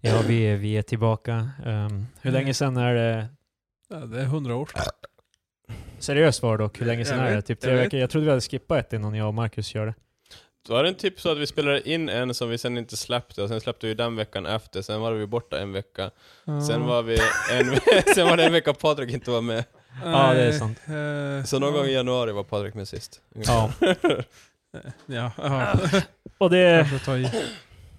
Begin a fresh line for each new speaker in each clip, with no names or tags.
Ja, vi är, vi är tillbaka. Ehm, hur länge sedan är det?
Ja, det är hundra år sedan.
Seriöst var det dock, hur länge sedan
Jag
är det?
vet,
Typ
jag
tre
vet.
veckor? Jag trodde vi hade skippat ett innan jag och Marcus körde.
Var det typ så att vi spelade in en som vi sen inte släppte, och sen släppte vi den veckan efter, sen var vi borta en vecka.
Ah.
Sen var, vi en, sen var det en vecka Patrik inte var med.
Ja, det är sant.
Eh,
Så någon gång i januari var Patrik med sist.
Ja.
Ja, ja.
Och det,
Kanske ta i.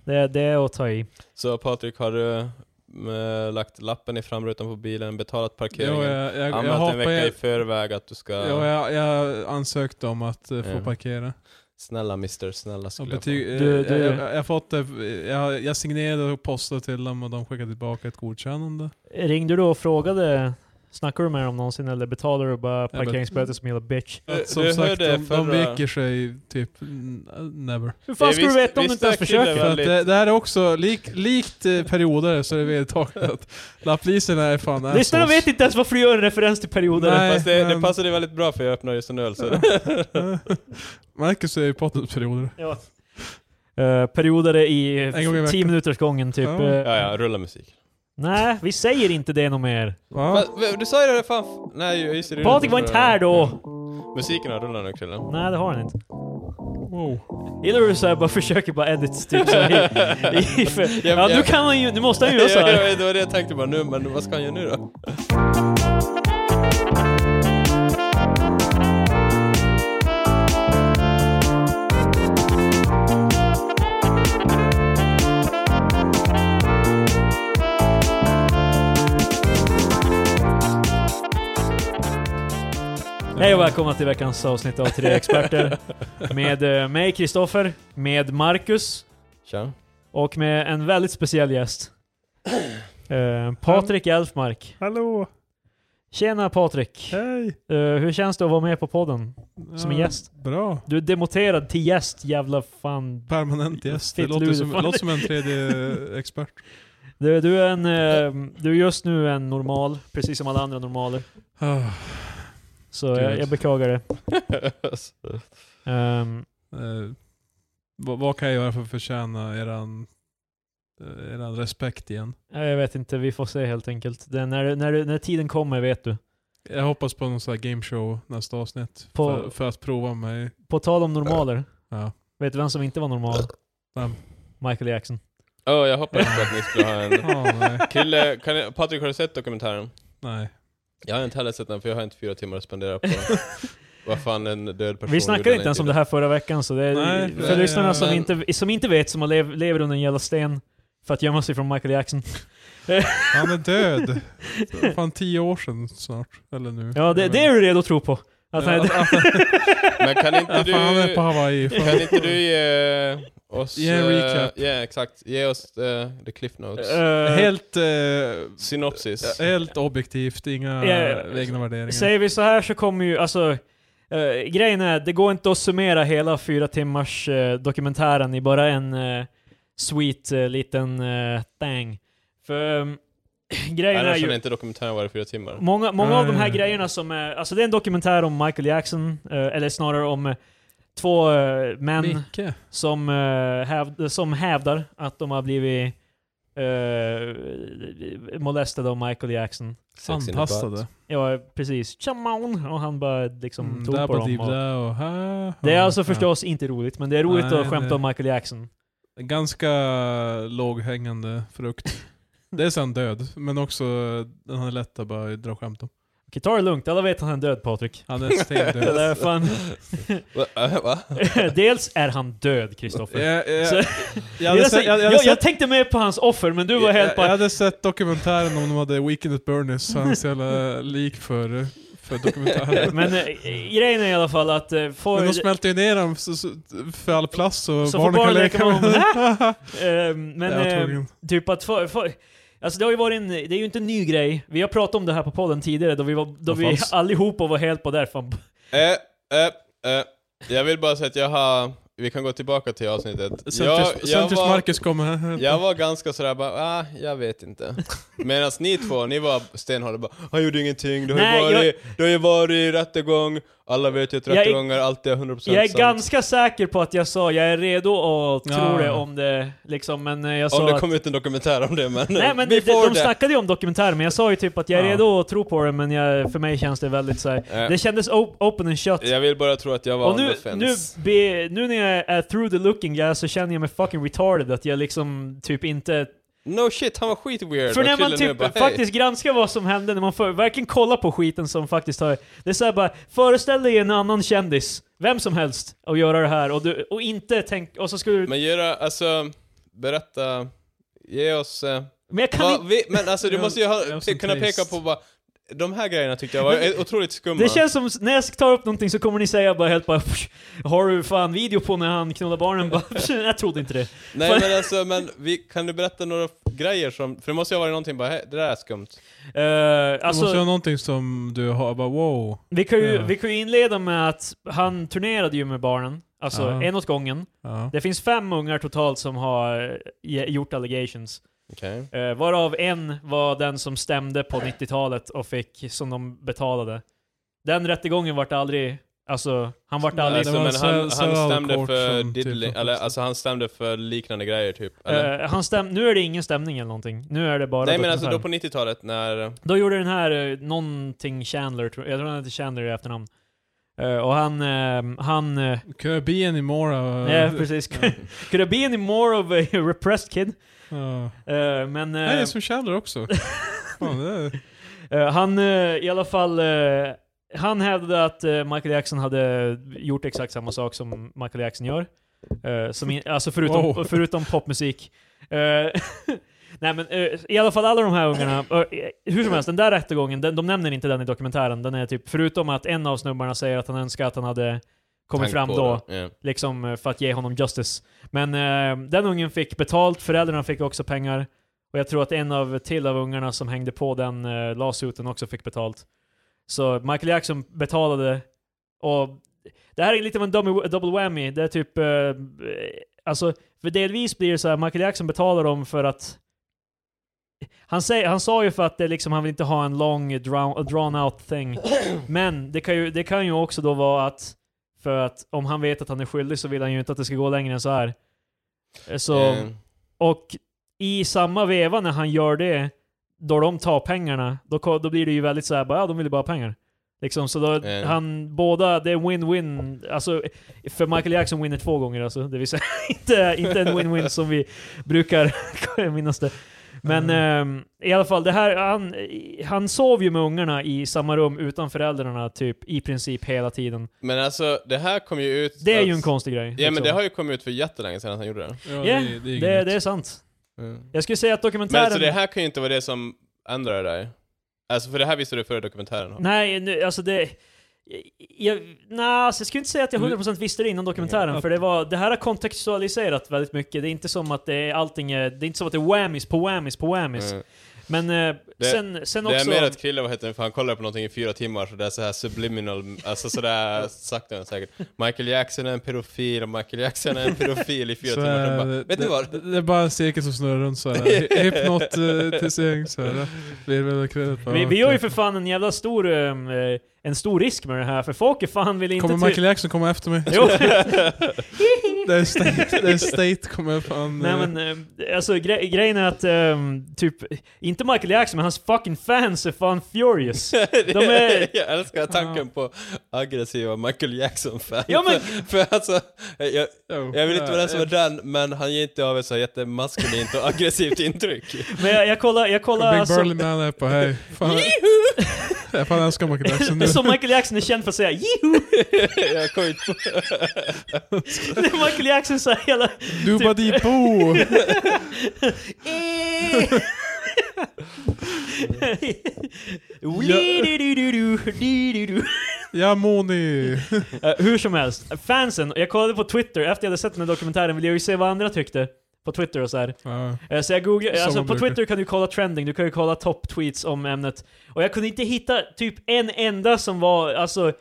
det, det är att ta i.
Så Patrik, har du mm, lagt lappen i framrutan på bilen, betalat
Jo,
parkeringen?
jag, jag, jag,
Anmält en
hoppar,
vecka i
jag,
förväg att du ska...
jo, jag, jag ansökte om att eh, få
Ja.
parkera.
Snälla mister, snälla
Och
skulle jag
betyg, eh,
Du-
jag,
du-
jag, jag, har fått det, jag, jag signerade och postade till dem och de skickade tillbaka ett godkännande.
Ringde du och frågade, snackade du med dem någonsin eller betalade du bara
bet-
parkeringsböter som hela bitch?
Du-
Som
du
sagt,
hörde
de, de
förra-
viker sig typ n- never.
Hur fan
Det
ska du
visste-
veta om du inte
visste
ens
jag killen
försöker?
väl?
För att det, det här är också, lik, likt eh, perioder så är det vedertaget att lapplisorna är fan
Lyssnarna
assholes.
vet inte ens varför du gör en referens till perioder.
på.
Nej,
Fast det, det
men-
passade väldigt bra för jag öppnar just en öl så
Marcus är ju poddens perioder.
Ja. Eh, perioder i
En gång i
tio
veckan.
minuters gången typ.
Ja.
Eh,
Ja, ja, rulla musik.
Nej, vi säger inte det något mer.
Va?
Fast, du sa ju det fan... f- Nej, jag- just det. det är
Patrik
du
var inte här då!
Musiken har rullat nu killen.
Nej, det har han inte.
Wow.
Gillar du såhär bara försöker bara edit typ så i, i, för,
Ja,
Ja,
ja.
nu kan han ju, nu måste han ju
Ja,
göra såhär.
ja, det var det jag tänkte bara nu, men vad ska han göra nu då?
Hej och välkomna till veckans avsnitt av Tre Experter. Med eh, mig Kristoffer, med Marcus
Tja.
och med en väldigt speciell gäst. Eh, Patrik Elfmark.
Hallå!
Tjena Patrik!
Hej!
Eh, hur känns det att vara med på podden? Som en
Ja,
gäst.
Bra.
Du är demoterad till gäst, jävla fan.
Permanent gäst. Det
Fitt
låter som,
lurefan.
låter som en tredje expert.
Du, du, är en, eh, du är just nu en normal, precis som alla andra normaler.
Ah,
Så jag,
Gud.
jag beklagar det. Ehm,
eh, vad, vad kan jag göra för att förtjäna eran, eh, eran respekt igen?
ja, jag vet inte, vi får se helt enkelt. Det, när, när, när tiden kommer vet du.
Jag hoppas på någon sån här gameshow nästa avsnitt.
På-
För, för att prova mig.
På tal om normaler,
Ja.
vet du vem som inte var normal?
Vem?
Michael Jackson.
Åh, jag hoppades på att ni skulle ha en...
Ah, nej.
Kille, kan jag, Patrik har du sett dokumentären?
nej.
Jag har inte heller sett den för jag har inte fyra timmar att spendera på vad fan en död person
Vi snackade inte ens om det här förra veckan, så det är,
Nej,
för
nej,
lyssnarna
ja,
som,
men-
inte, som inte vet, som har lev, lever under en jävla sten för att gömma sig från Michael Jackson.
Han är död. Fan tio år sedan snart. Eller nu.
Ja, det,
Jag
det är
vet
du redo att tro på. Att han är
Ja,
död.
Men kan inte
Ja,
du...
fan, han är på Hawaii. Fan.
Kan inte du ge oss...
Ge en
eh,
recap.
Ja, exakt. Ge oss eh, the cliff notes.
Eh,
Helt, eh,
Synopsis.
helt objektivt, inga
Ja,
egna värderingar.
Säger vi så här så kommer ju, alltså eh, grejen är, det går inte att summera hela fyra timmars eh, dokumentären i bara en eh, sweet eh, liten eh, thing. För ehm, grejen är
Annars hade
ju,
inte dokumentären varit fyra timmar.
många, många av de här
Nej.
grejerna som är, alltså det är en dokumentär om Michael Jackson, eh, eller snarare om eh, två eh, män
Micke.
som, eh, häv, som hävdar att de har blivit eh, molestade av Michael Jackson.
Sex in the
Antastade.
Ja, precis. Tjamown! Och han bara liksom
Mm,
tog
där
på
på
dem.
div,
Och...
där och här.
Det är
Ja,
alltså
ja.
förstås inte roligt, men det är roligt
Nej,
att skämta
det-
om Michael Jackson.
Ganska låghängande frukt. Det är sen död, men också den här lätta bara dra skämt om.
Okej, ta det lugnt. Alla vet att han är död, Patrik.
Han är stendöd.
Det där är fan...
butt. Va? Eh, Va?
Dels är han död, Kristoffer.
Jag, jag,
Så-
jag,
Jag,
hade sett, jag,
jag,
jag,
jag,
hade sett,
tänkte mer på hans offer, men du var helt
jag, jag
bara...
hade sett dokumentären om de hade Weekend at Bernies, hans jävla lik för, för dokumentären.
Men eh, grejen är i alla fall att... Eh, får,
Men de smälter ju ner dem så, så, för all plast så,
Så får
barnen kan
barnen
leka
leka
med
med
dem.
eh, men
Jag
eh,
tog en.
typ att... För, för, alltså det har ju varit en... Det är ju inte en ny grej. Vi har pratat om det här på podden tidigare, då vi, var, då
Vad
vi
fanns?
allihopa var helt på där. Fan,
Äh, Eh, eh, eh. Jag vill bara säga att jag har... vi kan gå tillbaka till avsnittet.
Sen tills, sen tills
var,
Marcus kommer här.
jag var ganska sådär bara, ah, jag vet inte. Medan ni två, ni var stenhårda bara, han gjorde ingenting, det har
Nej,
ju varit, det har ju varit rättegång, alla vet ju att
Jag är-
rättegångar alltid är 100%
Jag är
sant.
ganska säker på att jag sa jag är redo och tror
Ja.
det om det liksom, men eh, jag
Om
sa
det
att...
kom ut en dokumentär om det men...
Nej men de,
vi får
de
det.
snackade ju om dokumentär, men jag sa ju typ att jag är
Ja.
redo att tro på det, men jag, för mig känns det väldigt såhär...
Eh,
Det kändes op- open and shut.
Jag vill bara tro att jag var
Och
on
nu,
the
nu,
fence.
be, nu när jag är through the looking glass så känner jag mig fucking retarded att jag liksom typ inte...
No shit, han var skitweird.
För
Och
när man
killen nu
typ
bara, "Hej."
faktiskt granskar vad som hände, när man får, verkligen kollar på skiten som faktiskt har... Det är såhär bara, föreställ dig en annan kändis, vem som helst, och göra det här och, du, och inte tänk... Och så skulle du... Men,
Men göra, alltså, berätta, ge oss... Eh,
jag kan
vad
inte...
vi, men alltså du
Jag-
måste ju ha,
jag är så
pe- kunna
trist.
peka på bara, de här grejerna tyckte jag var
Men-
eh, otroligt skumma.
Det känns som, när jag tar upp någonting så kommer ni säga bara helt bara "Psh, Har du fan video på när han knullar barnen? Bara, "Psh, jag trodde inte det.
Nej men alltså, men vi, kan du berätta några f- grejer som, för det måste ju ha varit någonting bara, "Hej, det där är skumt.
Eh,
Alltså, måste
alltså,
ha någonting som du har, bara wow.
vi kan, ju,
Ja.
vi kan ju inleda med att han turnerade ju med barnen, alltså
Ja.
en åt gången.
Ja.
Det finns fem ungar totalt som har eh, ge- gjort allegations.
Okej.
Eh, varav en var den som stämde på 90-talet och fick som de betalade. Den rättegången vart aldrig, alltså han vart
Nej,
aldrig...
Alltså,
det var
men
en
han,
cell-
han
cell
stämde
court
för
som
diddling,
typ-
eller alltså han stämde för liknande grejer typ. Eller?
eh, han stäm, nu är det ingen stämning eller någonting. Nu är det bara
Nej men alltså
dokumentär.
då på 90-talet när,
Då gjorde den här eh, någonting Chandler, tror- jag tror han heter Chandler i efternamn. Eh, och han, ehm, han, eh,
Could I be any more? Uh,
ja precis. Could I be any more of a repressed kid?
Ja.
Eh, men eh,
Nej, det är som Chandler också. Fan, det är...
eh, han, eh, i alla fall, eh, han hävdade att eh, Michael Jackson hade gjort exakt samma sak som Michael Jackson gör. Eh, som in, alltså förutom,
Wow.
förutom popmusik. Eh, Nej men eh, i alla fall alla de här ungarna, eh, hur som helst, den där rättegången, den, de nämner inte den i dokumentären. Den är typ, förutom att en av snubbarna säger att han önskar att han hade kommit
tank
fram
på
då,
det. Ja.
liksom eh, för att ge honom justice. Men eh, den ungen fick betalt, föräldrarna fick också pengar. Och jag tror att en av till av ungarna som hängde på den eh, lawsuiten också fick betalt. Så Michael Jackson betalade och det här är lite av en dummy- double whammy. Det är typ, eh, eh, alltså, för delvis blir det så här, Michael Jackson betalar dem för att han, säger, han sa ju för att det liksom, han vill inte ha en lång drawn, drawn out thing. Men det kan, ju, det kan ju också då vara att, för att om han vet att han är skyldig så vill han ju inte att det ska gå längre än så här. Eh, Så,
Eh,
och i samma veva när han gör det, då de tar pengarna, då, ko- då blir det ju väldigt så här, bara, ja de vill ju bara ha pengar. Liksom, så då,
Eh.
han, båda, det är win-win. Alltså, för Michael Jackson winner två gånger alltså. Det vill säga inte, inte en win-win som vi brukar minnas det.
Mm.
Men ehm, i alla fall, det här, han, han sov ju med ungarna i samma rum utan föräldrarna typ i princip hela tiden.
Men alltså det här kom ju ut...
Det är
att-
ju en konstig grej.
Alltså, Ja men
liksom.
det har ju kommit ut för jättelänge sedan att han gjorde det.
Ja,
Ja,
det, det är
det,
inget.
det är sant.
Mm.
Jag skulle säga att
Men
dokumentären...
alltså det här kan ju inte vara det som ändrar dig. Alltså för det här visade du före dokumentären.
Nej, nu, alltså det... Jag, nej, alltså jag skulle inte säga
Mm.
att jag 100% visste det innan dokumentären, för det, var, det här har kontextualiserat väldigt mycket. Det är inte som att det är, allting är, det är inte som att det är whammies på whammies på whammies.
Mm.
Men eh,
Det-
sen, sen
Det är
också...
mer att Krille, vad heter det, för han kollar på någonting i fyra timmar så det är så här subliminal, alltså sådär sakta men säkert. Michael Jackson är en pedofil och Michael Jackson är en pedofil i fyra
Så
timmar.
är
Så bara,
det-
vet ni vad?
Det, det är bara en cirkel som snurrar runt såhär. Hypnotisering såhär. Virvelkvädet
vi, vi gör ju för fan en jävla stor, eh, en stor risk med det här, för folk är fan vill inte...
Kommer
ty-
Michael Jackson komma efter mig?
Jo,
Det är State, det är state kommer fan...
nej
eh,
men eh, alltså gre- grejen är att eh, typ, inte Michael Jackson, men hans fucking fans är fan furious. De är-
Jag älskar tanken på aggressiva Michael Jackson-fans.
Ja, men-
för, för alltså, jag,
jo,
jag vill inte
ja,
vara den som är
jag-
den, men han ger inte av ett så här jättemaskulint och aggressivt intryck.
Men jag, jag kollar, jag kollar
Big
alltså-
Burly Man är på hej. Fan, jag fan älskar Michael Jackson nu.
Som Michael Jackson är känd för att säga Jiho!
jag kom inte på...
Det är Michael Jackson så här hela...
Du bara di
typ-
bo!
Wee-di-di-di-du, di-di-du.
Ja Moni!
Eh, Hur som helst, fansen, jag kollade på Twitter, efter jag hade sett den här dokumentären ville jag ju se vad andra tyckte. På Twitter och så här.
Ja.
Eh, Så jag googlade,
Som
alltså
man
på
brukar.
Twitter kan du kolla trending, du kan ju kolla top tweets om ämnet. Och jag kunde inte hitta typ en enda som var, alltså,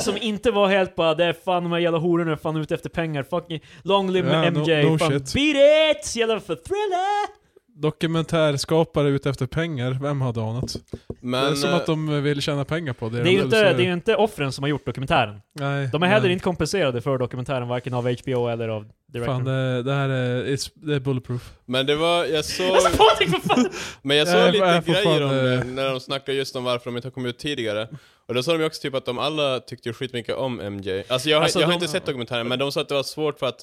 som inte var helt bara det är fan de här jävla hororna är fan ute efter pengar, fucking long live
Ja, no-
MJ,
no
fan
shit.
beat it! Jävla för thriller!
Dokumentärskapare ute efter pengar, vem hade anat? det är
Men
som
eh,
att de vill tjäna pengar på det.
Det är ju
väl
inte,
så-
det är ju inte offren som har gjort dokumentären.
Nej,
De är heller
nej.
inte kompenserade för dokumentären, varken av HBO eller av directorn.
Fan, det, det här är, it's, det är bulletproof.
men det var, jag såg...
Alltså Patrik, vad fan!
Men jag såg
Jag är-
lite
jag är för
grejer
fan,
om det,
eh,
när de snackade just om varför de inte har kommit ut tidigare. Och då sa de ju också typ att de alla tyckte ju skitmycket om MJ. Alltså jag, har-
Alltså,
jag har
de-
inte sett dokumentären, men de sa att det var svårt för att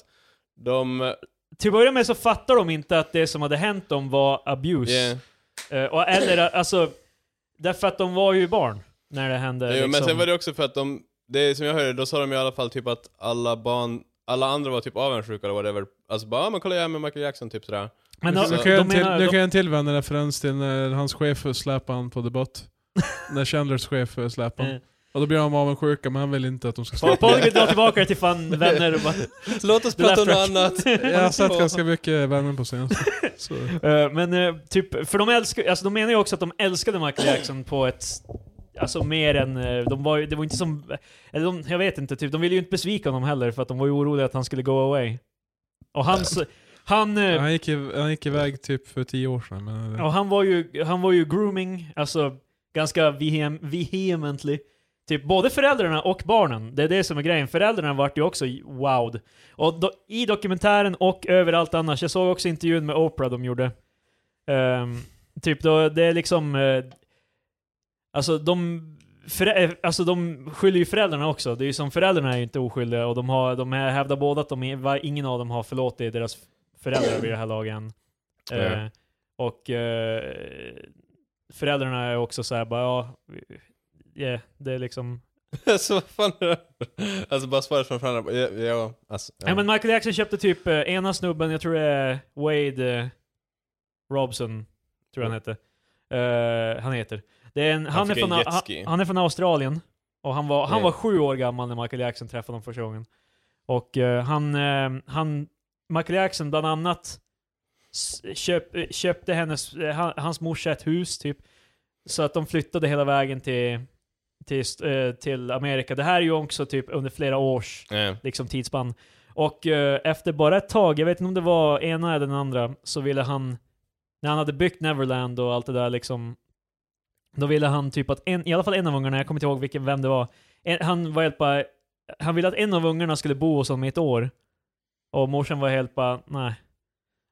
de...
Till att börja med så fattar de inte att det som hade hänt dem var abuse.
Yeah.
Eh, och, eller alltså, därför att de var ju barn när det hände.
Jo,
liksom.
Men sen var det också för att de, det som jag hörde, då sa de i alla fall typ att alla barn, alla andra var typ avundsjuka eller whatever. Alltså bara, ah, men kolla jag är med Michael Jackson typ sådär.
Men
Nu
de,
Nu
de,
kan jag en till-
menar...
nu kan
de,
jag en till vända referens till när hans chef släpade han på debatt. när Chandlers chef släpade han.
eh,
Och då blir de avundsjuka, men han vill inte att de ska
Pa-
släppa
Patrik vill dra tillbaka det till fan vänner och bara,
Låt oss
Det lät
prata om något
fräckt.
annat.
Jag har sett ganska mycket värmen på scenen. Så.
Eh, men eh, typ, för de älskar, alltså de menar ju också att de älskade Michael Jackson på ett, alltså mer än, eh, de var ju, det var inte som, eller de, jag vet inte, typ, de ville ju inte besvika honom heller för att de var ju oroliga att han skulle go away. Och hans, han, eh,
Han, gick, i- han gick iväg typ för tio år sedan. Men
och han var ju, han var ju grooming, alltså ganska vehem, vehemently. Typ både föräldrarna och barnen, det är det som är grejen. Föräldrarna vart ju också wowed. Och do, i dokumentären och överallt annars, jag såg också intervjun med Oprah de gjorde. Ehm, typ då, det är liksom... eh, alltså de... Förä- eh, alltså de skyller ju föräldrarna också. Det är ju som föräldrarna är ju inte oskyldiga och de, har, de här hävdar båda att de, är- va- ingen av dem har förlåtit deras föräldrar vid det här laget än. Eh,
Nej.
och eh, föräldrarna är också så här bara ja, vi- yeah, det är liksom...
alltså vad fan är det? Alltså bara svaret från föräldrarna. Ja, ja, alltså, ja.
Nej men Michael Jackson köpte typ eh, ena snubben, jag tror det är Wade eh, Robson, tror jag han hette. Eh, han heter. Det är en, han,
Han
är
fick
från,
en
han,
jetski.
han är från Australien. Och han var, han
Ja.
var sju år gammal när Michael Jackson träffade honom första gången. Och eh, han, eh, han, Michael Jackson bland annat s- köp, eh, köpte hennes, eh, han- hans morsa ett hus typ. Så att de flyttade hela vägen till, till, st- eh, till Amerika. Det här är ju också typ under flera års
Ja.
liksom tidsspann. Och eh, efter bara ett tag, jag vet inte om det var ena eller den andra, så ville han, när han hade byggt Neverland och allt det där liksom, då ville han typ att en, i alla fall en av ungarna, jag kommer inte ihåg vilken, vem det var, en, han var helt bara, han ville att en av ungarna skulle bo hos honom i ett år. Och morsan var helt bara, nej.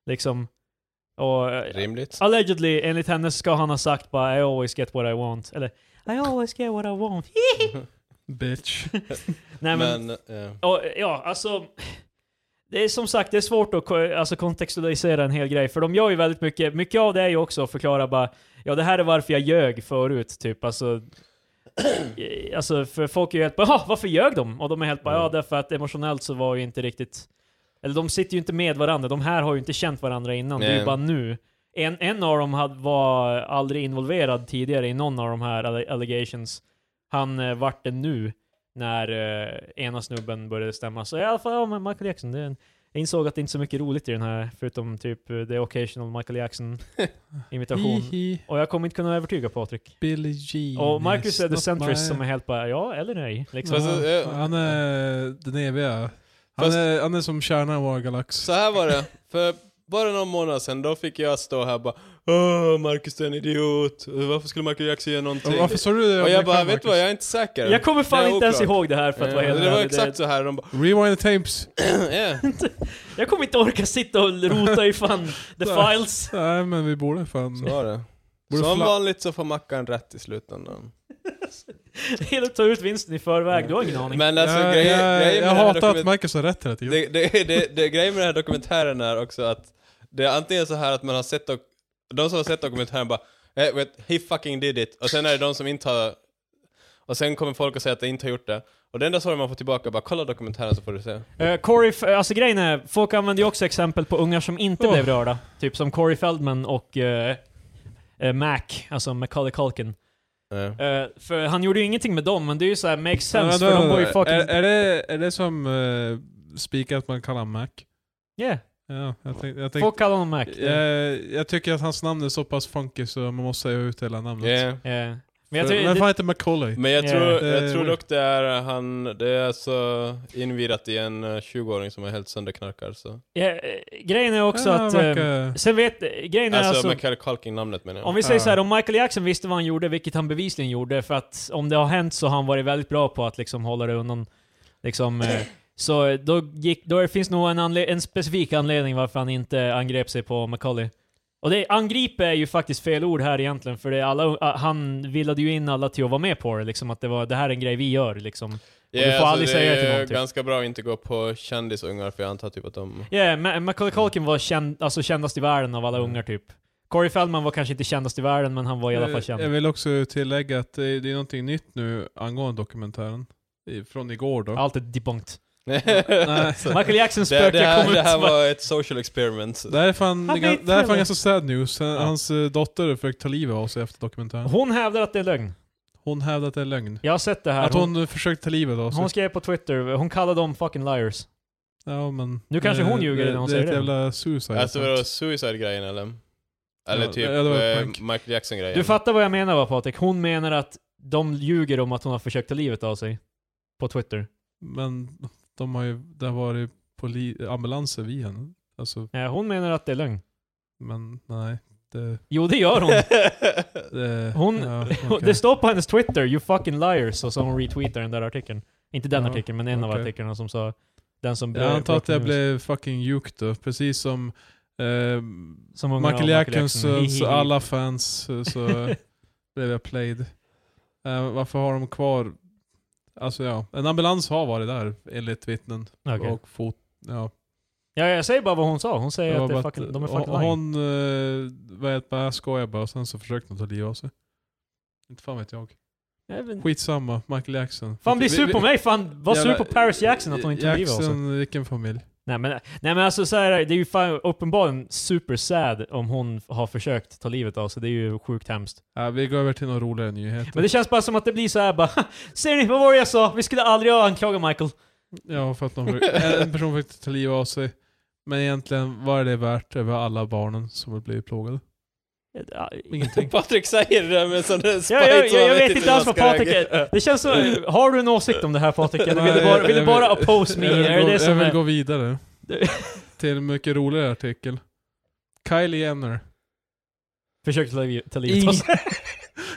Liksom. Och, eh,
Rimligt.
Allegedly, enligt henne ska han ha sagt bara I always get what I want. Eller I always get what I want.
Bitch.
Nej, men,
men, eh, ja.
Ja, ja, alltså... Det är som sagt, det är svårt att ko- alltså, kontextualisera en hel grej, för de gör ju väldigt mycket. Mycket av det är ju också att förklara bara, ja det här är varför jag ljög förut, typ. Alltså, eh, alltså för folk är ju helt bara, "Jaha, varför ljög de? Och de är helt bara, ja därför att emotionellt så var ju inte riktigt... Eller de sitter ju inte med varandra, de här har ju inte känt varandra innan, det är ju
Nej.
bara nu. En, en av dem hade, var aldrig involverad tidigare i någon av de här alle- allegations. Han eh, vart det nu när eh, ena snubben började stämma. Så i alla fall, ja men Michael Jackson, det är en, jag insåg att det är inte är så mycket roligt i den här, förutom typ eh, the occasional Michael Jackson-imitation.
Hihi,
Och jag kommer inte kunna övertyga Patrik.
Billie Jean.
Och Marcus
is
är the
not
centrist
my-
som är helt bara, ja eller nej. Liksom.
Fast, eh,
han är den eviga. Han
Fast-
är, han är som kärnan i vår galax.
Så här var det, för bara någon månad sedan, då fick jag stå här och bara Åh, Marcus du är en idiot, varför skulle Michael Jackson göra någonting?
Och Varför sa du det?
och jag
Amerikan,
bara, vet
Marcus?
du vad, jag är inte säker.
Jag kommer fan
Det är
inte ens
oklart.
ihåg det här för att vara
Ja,
helt
Det var
ärlig.
exakt så här, de bara
Rewind the tapes.
yeah.
Mm.
Jag kommer inte orka sitta och rota i fan the
Nej.
files.
Nej men vi borde fan...
Så var det.
Borde
Som
fla-
vanligt så får Mackan rätt i slutändan.
Eller ta ut vinsten i förväg, du har ingen aning.
Men alltså
jag
grejen
jag, jag
grejen med den här
hatar att
dokument-
Marcus har rätt hela tiden.
det, det, det, det, Grejen med den här dokumentären är också att det är antingen så här att man har sett och, de som har sett dokumentären bara eh, vet, he fucking did it och sen är det de som inte har och sen kommer folk att säga att de inte har gjort det och den enda svaret man får tillbaka är bara kolla dokumentären så får du se.
Eh, Corey, F- alltså grejen är, folk använder ju också exempel på ungar som inte
Oh.
blev rörda. Typ som Corey Feldman och eh, eh, Mac, alltså Macaulay Culkin.
Eh.
Eh, för han gjorde ju ingenting med dem, men det är ju såhär, makes
Ja,
sense,
då-
för de var ju
är,
fucking...
är, det, är det som uh, spikar att man kallar han Mac?
Yeah,
Ja, jag tänkte... Jag, Eh, tänkte
folk kallar honom Mac. Eh,
jag, jag tycker att hans namn är så pass funky så man måste säga ut hela namnet.
Yeah.
Eh, Men jag
För-
tror-
Vem
det-
fan heter Macaulay?
Men jag
Ja.
tror,
Eh,
jag tror dock det är han, det är alltså invirat i en eh, 20-åring som är helt sönderknarkad så.
Ja, eh, grejen är också
Ja,
att... eh,
verkar-
sen vet... Grejen är
Alltså,
alltså...
Michael Culkin namnet menar jag.
om vi säger
Ja.
så här, om Michael Jackson visste vad han gjorde, vilket han bevisligen gjorde, för att om det har hänt så har han varit väldigt bra på att liksom hålla det undan. Liksom, eh, så då, gick, då finns nog en, anle- en specifik anledning varför han inte angrep sig på Macaulay. Och det, angripa är ju faktiskt fel ord här egentligen, för det är alla, a- han villade ju in alla till att vara med på det, liksom, att det, var, det här är en grej vi gör. Liksom.
Ja,
du får aldrig
alltså, det
säga
är
till någon, typ.
ganska bra att inte gå på kändisungar för jag antar typ att de...
Ja, Ma- Macaulay Culkin var känd, alltså kändast i världen av alla
Mm.
ungar typ. Corey Feldman var kanske inte kändast i världen, men han var i alla fall
Eh, Jag
känd.
vill också tillägga att det det är någonting nytt nu angående dokumentären. I- Från igår då.
Allt är debunked.
Alltså,
Michael Jacksons
det,
spöke
det, här,
kom ut.
det här var ett social experiment.
Det här är fan,
Han
det
är
ga- det här är
trevlig.
fan ganska sad news. Han- Hans eh, dotter försökte ta livet av sig efter dokumentären.
Hon hävdar att det är lögn.
Hon hävdade att det är lögn.
Jag har sett det här.
Att hon försökte ta livet av
hon,
sig.
hon skrev på Twitter, hon kallar dem fucking liars.
Ja, men, Eh,
Nu kanske hon ljuger
det,
när hon
det.
säger
är ett
det.
jävla suicide.
Alltså vadå, suicide-grejen eller? Eller
Ja,
typ
ja, det var
eh,
prank.
Michael Jackson-grejen?
Du fattar vad jag menar va Patrik? Hon menar att de ljuger om att hon har försökt ta livet av sig. På Twitter.
men de har ju, det har varit poli- ambulanser vid henne. Alltså,
Eh, Hon menar att det är lögn.
men nej. Det,
Jo det gör hon.
det,
Hon,
ja,
det
okej.
står på hennes Twitter, 'You fucking liars' och så hon retweetar den där artikeln. Inte den
Ja,
artikeln, men en av
okej.
artiklarna som sa den som
Jag antar att jag
breaking
blev fucking juked då, precis som eh,
news. som ungarna
Michael
av
Jacksons
Hihihi.
och alla fans eh, så blev jag played. Eh, varför har de kvar... Alltså ja, en ambulans har varit där enligt vittnen
Okej.
och fot... Ja.
Ja, jag säger bara vad hon sa. Hon säger
var
att det är
bara
fucking, de är
hon-
fucking lying.
Hon eh, vet bara, jag skojar bara och sen så försökte hon ta livet av sig. Inte fan vet jag.
Nej, men-
Skitsamma, Michael Jackson.
Fan bli
Vi-
sur
vi-
på mig, fan var sur
jävla-
på Paris Jackson att hon inte blev av sig.
Jackson, vilken familj.
Nej men, nej men alltså så här, det är ju fan uppenbarligen super sad om hon har försökt ta livet av sig. Det är ju sjukt hemskt.
Ja, vi går över till några roligare nyheter.
Men det känns bara som att det blir så här bara Ser ni, vad var det jag sa? Vi skulle aldrig ha anklagat Michael.
Ja, för att någon fick, en person fick ta livet av sig. Men egentligen, vad är det värt över alla barnen som har blivit plågade? Ingenting.
Patrik säger det där med sån där spite
Ja, jag,
som
jag,
han
jag vet inte
hur
alls
man
vad
ska
Patrik
reagera.
är. Det känns som, har du en åsikt om det här Patrik? Eller vill du
Nej,
bara, vill du
jag
bara oppose me?
Jag vill,
Är det
gå,
det
jag
som
vill
är...
gå vidare.
Det-
till en mycket roligare artikel. Kylie Jenner.
Försökte ta liv- ta livet av
Ing,
sig.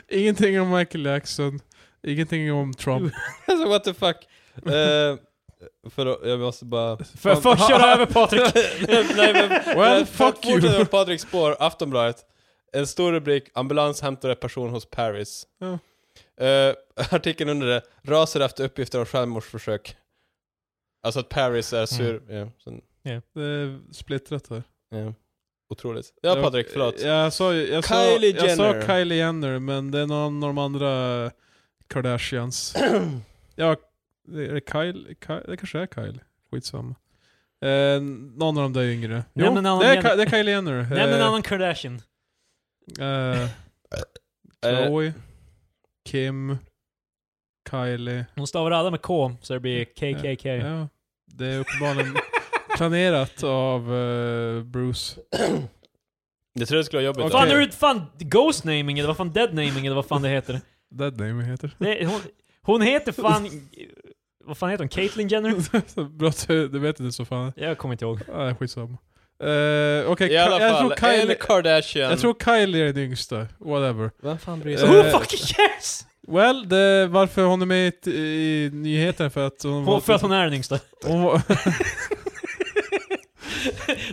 ingenting om Michael Jackson. Ingenting om Trump.
Alltså what the fuck. Eh, för då, jag måste bara...
För, först köra över Patrik.
Nej, men,
Well,
eh,
fuck
fort- fortsätter
you.
med Patrik spår, Aftonbladet. En stor rubrik, ambulans hämtar en person hos Paris.
Ja.
Eh, artikeln under det, raser efter uppgifter om självmordsförsök. Alltså att Paris är sur.
Mm.
Ja, sen,
Det är splittrat här.
ja. Otroligt. Ja Patrik, förlåt.
Jag, sa ju- jag, sa,
Kylie
jag sa
Jenner.
Kylie Jenner, men det är någon av de andra Kardashians. ja, det är det Kyle? Kyle? Det kanske är Kyle. Skitsamma. Eh, någon av de där yngre. Jo,
men någon
det, är
Jenner.
Ki- det är Kylie Jenner.
Nämn en annan Kardashian.
Eh,
Eh,
Chloe, Kim, Kylie.
Hon stavar alla med K, så det blir KKK.
Ja, det
Eh,
är uppenbarligen planerat av eh, Bruce.
jag trodde det skulle vara jobbigt.
Okej.
Fan,
alltså.
är det fan ghost naming eller vad fan dead naming eller vad fan det heter?
Dead name heter
Det, är- hon, hon heter fan... Vad fan heter hon? Caitlyn Jenner?
det. Bra att du du vet inte så fan.
Jag kommer inte ihåg.
Nej, skitsamma. Uh, Okej,
I alla
Ka- jag,
fall,
tror Kylie,
en Kardashian. Eh,
jag tror Kylie är den yngsta. Whatever.
Vem fan bryr
sig?
Who fucking cares?
Well, det, varför hon är med i, t- i nyheten för att hon...
Hon, för att hon är den yngsta.
hon var,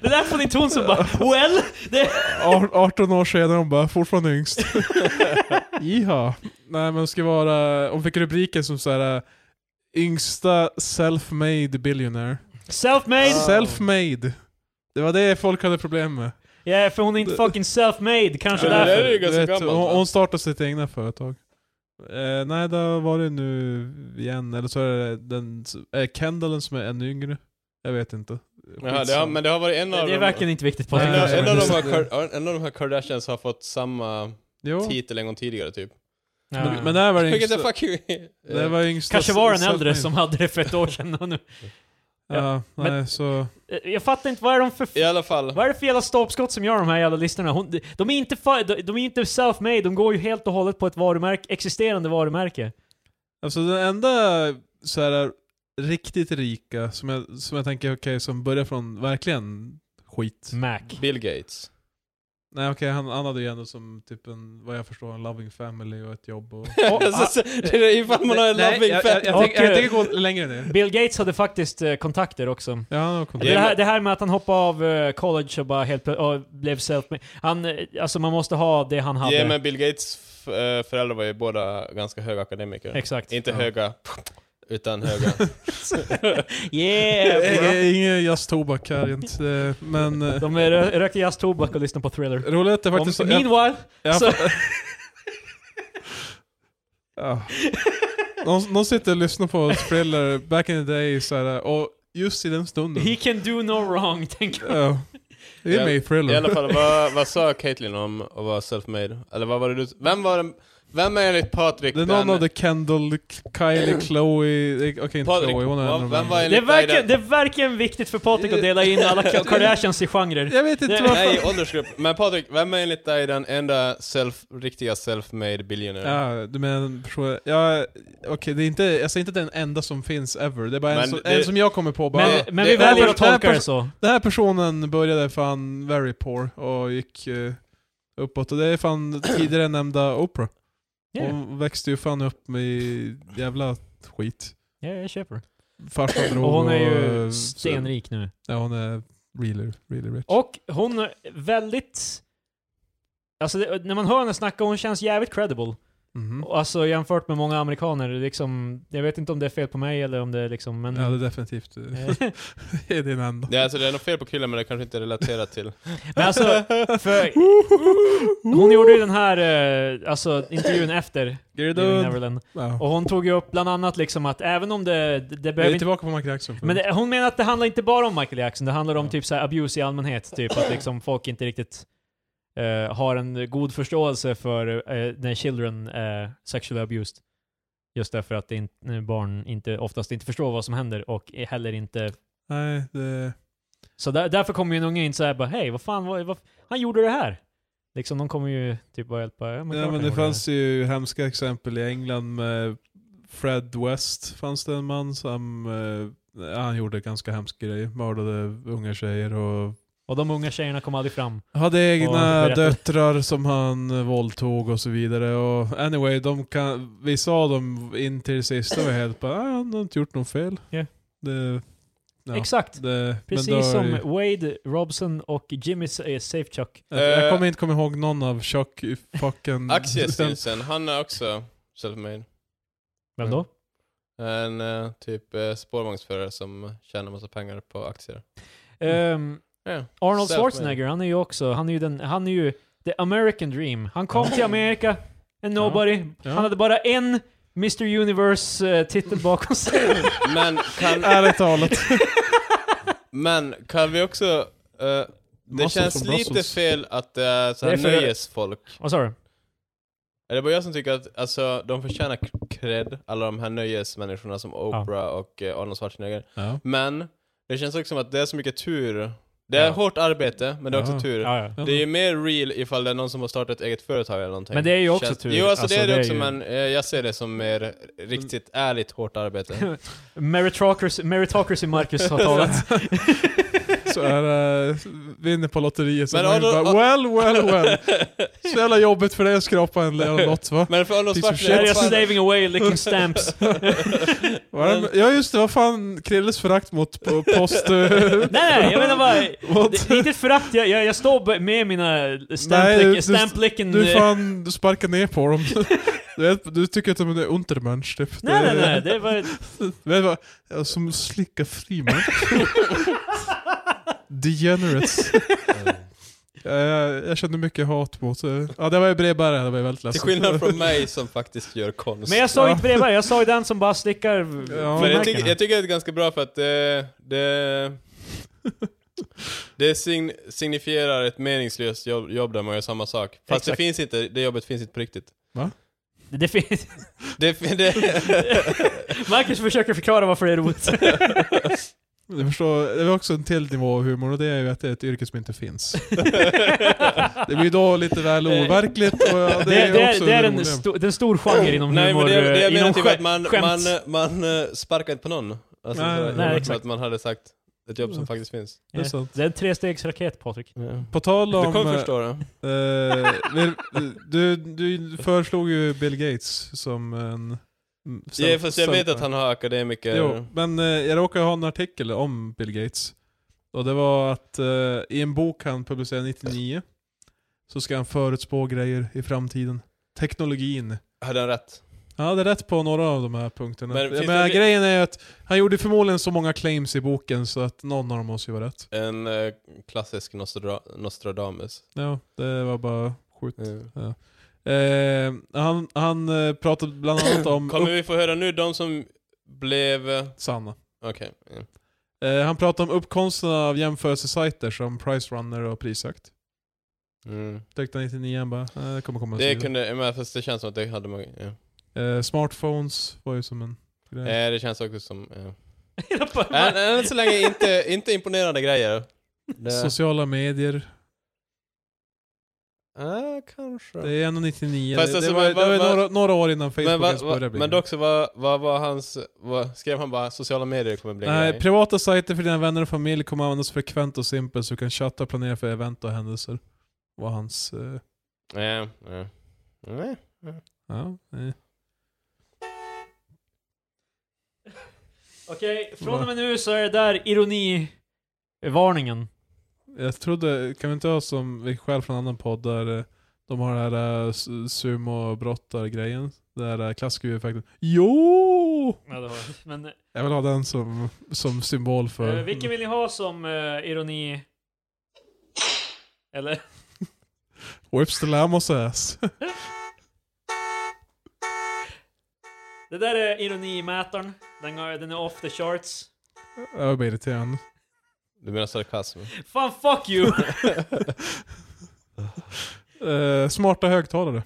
Det där får ni ton som bara well, det,
art- 18 år senare hon bara fortfarande yngst. Iha. Nej men hon ska vara... Hon fick rubriken som så här eh, Yngsta self-made billionaire.
self-made.
Ah.
Self-made. Det var det folk hade problem med.
Ja, för hon är inte fucking self-made, kanske
Ja, det där är
därför.
ju ganska
Du
gammalt, va?
hon, hon startade sitt egna företag. Eh, nej, det har varit nu igen, eller så är det den, är Kendallen som är ännu yngre. Jag vet inte.
Jaha, det har, men det har varit en av
Det är
dem-
verkligen inte viktigt på
Nej,
En av,
nej,
en, av de
nej.
här, Kar- en av de här Kardashians har fått samma
Jo,
titel en gång tidigare typ.
men, men det här var det
Vilket är
yngsta.
fucking...
Det var yngsta
Kanske var den
sättning.
äldre som hade det för ett år sedan och nu.
Ja, nej,
men-
så...
Eh, Jag fattar inte, vad är de för...
I alla fall.
Vad är det för jävla stolpskott som gör de här jävla listorna? Hon, de- de är inte, fa- de, de är inte self-made, de går ju helt och hållet på ett varumärke, existerande varumärke.
Alltså den enda så här riktigt rika som jag, som jag tänker, okej, som börjar från verkligen skit.
Mac.
Bill Gates.
Nej okej, han, han hade ju ändå som typ en, vad jag förstår, en loving family och ett jobb och...
Så-
Alltså,
så- det är Ifall man har en
Nej,
loving
jag, jag, jag,
family.
Och,
tänker- jag
eh,
tänker gå längre ner.
Bill Gates hade faktiskt eh, kontakter också.
Ja, han har kontakt.
Det här, det här med att han hoppade av eh, college och bara helt plö- och blev self-made. Han, eh, alltså man måste ha det han hade.
Ja, men Bill Gates f- eh, föräldrar var ju båda ganska höga akademiker.
Exakt.
Inte
Ja.
höga, utan höga.
Yeah! bro.
Eh, Ingen jazztobak här inte, eh, men... eh,
De eh, rö- rökte jazz, tobak och lyssnade på Thriller.
Roligt är
Om,
faktiskt... jag-
meanwhile,
jag-
så,
Ja. Någon, någon sitter och lyssnar på Thriller back in the day så här, och just i den stunden.
he can do no wrong, tänker jag.
Ja. Det är med i Thriller.
I alla fall, vad, vad sa Caitlyn om att vara self-made? Eller vad var det du... Vem var den... Vem är enligt Patrik
Det är någon av The Kendall, Kylie, Chloe... eh, Okej, inte
Patrik,
Chloe, hon är
vad-
en av
vem
dem.
var
Det är,
enligt dig
verkligen,
den-
det är verkligen viktigt för Patrik att dela in alla Ka- Kardashians i genrer.
Jag vet inte
Det-
vad...
Nej, åldersgrupp. Men Patrik, vem är enligt dig den enda self, riktiga self-made billionaire?
Ja, du menar en person... Ja, okej, det är inte... Jag säger inte den enda som finns ever. Det är bara en,
Men
som,
det-
en som jag kommer på bara.
Men,
det-
men
det-
vi väljer att
det här
tolka det
pers-
så.
Den här personen började fan very poor och gick eh, uppåt. Och det är fan tidigare nämnda Oprah.
Yeah,
Hon växte ju fan upp med jävla skit.
yeah, jag köper.
Farsan drog
Och hon är
och, eh,
ju stenrik nu.
Så, ja, hon är really, really rich.
Och hon är väldigt... Alltså det, när man hör henne snacka, hon känns jävligt credible.
Mhm.
Alltså jämfört med många amerikaner, liksom, jag vet inte om det är fel på mig eller om det är liksom, men...
Ja, det är definitivt eh, det är din enda.
Ja, alltså det är nog fel på killen men det kanske inte är relaterat till.
men alltså, för, hon gjorde ju den här eh, alltså, intervjun efter Leaving
Gerdund.
Neverland.
Ja.
Och hon tog ju upp bland annat liksom att även om det, det, det
Vi
behöver
är
inte...
tillbaka på Michael Jackson.
Men det, hon menar att det handlar inte bara om Michael Jackson, det handlar om
Ja.
typ så här abuse i allmänhet. Typ att liksom folk inte riktigt eh, har en god förståelse för eh, när children är sexually abused. Just därför att det in, när barn inte, oftast inte förstår vad som händer och heller inte...
Nej, det...
Så där, därför kommer ju en unge in såhär bara hej, vad fan, vad, vad, han gjorde det här! Liksom de kommer ju typ bara hjälpa, ja men,
Ja,
klart
men
han
det
gjorde
fanns ju hemska exempel i England med Fred West. Fanns det en man som eh, ja, han gjorde ganska hemska grejer. Mördade unga tjejer och
Och de unga tjejerna kom aldrig fram.
hade
Och
egna
berättade-
döttrar som han eh, våldtog och så vidare. Och anyway, de kan, vissa av dem in till det sista var helt bara ah, han har inte gjort något fel.
Ja.
Det, ja,
Exakt!
det, men då är
Precis som
ju-
Wade, Robson och Jimmy eh, Safechuck.
Jag, jag
Eh,
kommer inte komma ihåg någon av Chuck i fucking...
Aktiestinsen, han är också self-made.
Vem då?
En eh, typ eh, spårvagnsförare som tjänar massa pengar på aktier.
Mm.
Ehm,
Ja.
Arnold
Self-made.
Schwarzenegger, han är ju också, han är ju den, han är ju the American dream. Han kom till Amerika, en nobody.
Ja.
Han hade bara en Mr Universe-titel bakom sig.
Men kan,
Ärligt talat.
men kan vi också... eh, det
Muscles
känns
from
lite
Brussels.
fel att det är så
Det
här
är för-
nöjesfolk.
Vad sa du?
Är det bara jag som tycker att alltså, de förtjänar k- cred, alla de här nöjesmänniskorna som Oprah och eh, Arnold Schwarzenegger.
Ja.
Men det känns också som att det är så mycket tur. Det är
Ja.
hårt arbete, men det är också
Ja.
tur.
Ja, ja.
Det är ju mer real ifall det är någon som har startat ett eget företag eller någonting.
Men det är ju också
Känns-
tur.
Jo, alltså, det är det också,
ju-
men eh, jag ser det som mer riktigt ärligt hårt arbete.
Meritocracy, meritocracy Marcus har talat.
Så är det, vinner på lotteriet så
Men
man ju
Arnold-
bara well, well, well. Så jävla jobbigt för dig att skrapa en eller något va?
Men för Arnold
Piece of
Där är
Schwarzenegger...
jag
fan-
slaving away licking stamps.
Vad är det med- Ja just det, vad fan Krilles förakt mot po- post... eh,
Nej, nej, jag menar bara...
What?
Det, det är inte ett förakt, jag, jag, jag står b- med mina stamp,
Nej,
lick,
du-
stamp licking...
Du
eh,
fan, du sparkar ner på dem. Du, vet, du tycker att de är untermensch typ.
Nej,
Det-
nej, nej. Det var...
Du vet vad? Ja, Som slickar frimärken. Degenerates. Ja, jag, jag kände mycket hat mot... eh, Ja det var ju brevbärare, det var ju väldigt
Till
ledsamt.
skillnad från mig som faktiskt gör konst.
Men jag sa
Ja.
inte brevbärare, jag sa ju den som bara slickar
Ja.
Men jag,
frimärkena.
tycker, jag tycker det är ganska bra för att det, det, det sign, signifierar ett meningslöst jobb, jobb där man gör samma sak. Fast
Exakt.
det finns inte, det jobbet finns inte på riktigt.
Det finns...
Det, det,
Marcus försöker förklara varför det är roligt.
Jag förstår, det är också en till nivå av humor och det är ju att det är ett yrke som inte finns. Det blir då lite väl
Eh,
overkligt och ja,
Det,
det är också
det är en,
roligt.
sto, det är en stor genre inom
Oh. Nej
humor.
men det, det jag
eh,
menar
inom
typ
skä-
att man,
skämt.
man, eh, man eh, sparkar inte på någon. Alltså,
Nej,
så-
nej,
för
exakt. Mm.
Att man hade sagt ett jobb som faktiskt finns.
Det är sant.
Alltså, Det är en trestegsraket Patrik.
På tal
Du
om...
kommer
eh,
förstå det.
eh, vill- du, du föreslog ju Bill Gates som en... mm,
Ja, fast jag vet
self-
att han har akademiker...
Jo, men eh, jag råkar ha en artikel om Bill Gates. Och det var att eh, i en bok han publicerade 99 så ska han förutspå grejer i framtiden. Teknologin.
Hade han rätt?
Han hade rätt på några av de här punkterna.
Men
Men,
finns
men
det-
grejen är ju att han gjorde förmodligen så många claims i boken så att någon av dem måste ju vara rätt.
En eh, klassisk Nostra- Nostradamus.
Ja, det var bara skjut.
Mm.
Eh, han han eh, pratade bland annat om...
Kommer
upp...
vi få höra nu de som blev... eh,
Sanna.
Okej. Mm.
Eh, han pratade om uppkomsten av jämförelsesajter som Price Runner och Prisjakt.
Mm.
Tyckte han 99 bara, eh, det kommer komma
Det
sidor.
kunde... Men fast det känns som att det hade man... Ja.
Eh, smartphones var ju som en grej.
Eh, det känns också som... Ja. Än, än så länge inte, inte imponerande grejer. Det,
Sociala medier.
ah, kanske.
Det är 1,99.
Fast
Det,
alltså,
det var,
men vad-
det var
vad-
några, några år innan Facebook
men, va,
ens började
va,
bli
men
grej.
också, vad vad var hans... Vad, skrev han bara sociala medier kommer bli en
Nej,
grej?
privata sajter för dina vänner och familj kommer användas frekvent och simpelt så du kan chatta och planera för event och händelser. Var hans... eh,
Nej, nej. Nej.
ja, eh, nej.
Okej, från och med nu så är det där ironivarningen.
Jag trodde, kan vi inte ha som vi skäl från en annan podd där eh, de har det här uh, sumobrottar-grejen? Det här uh, klassiska effekten. Jo!
Ja, det var. Men,
Jag vill ha den som, som symbol för...
eh, vilken vill ni ha som eh, ironi... Eller?
Whips the Lamos ass.
Det där är ironimätaren. Den, har- den är off the charts.
Jag blir irriterande.
Du menar sarkasm?
Fan, fuck you!
Eh, smarta högtalare.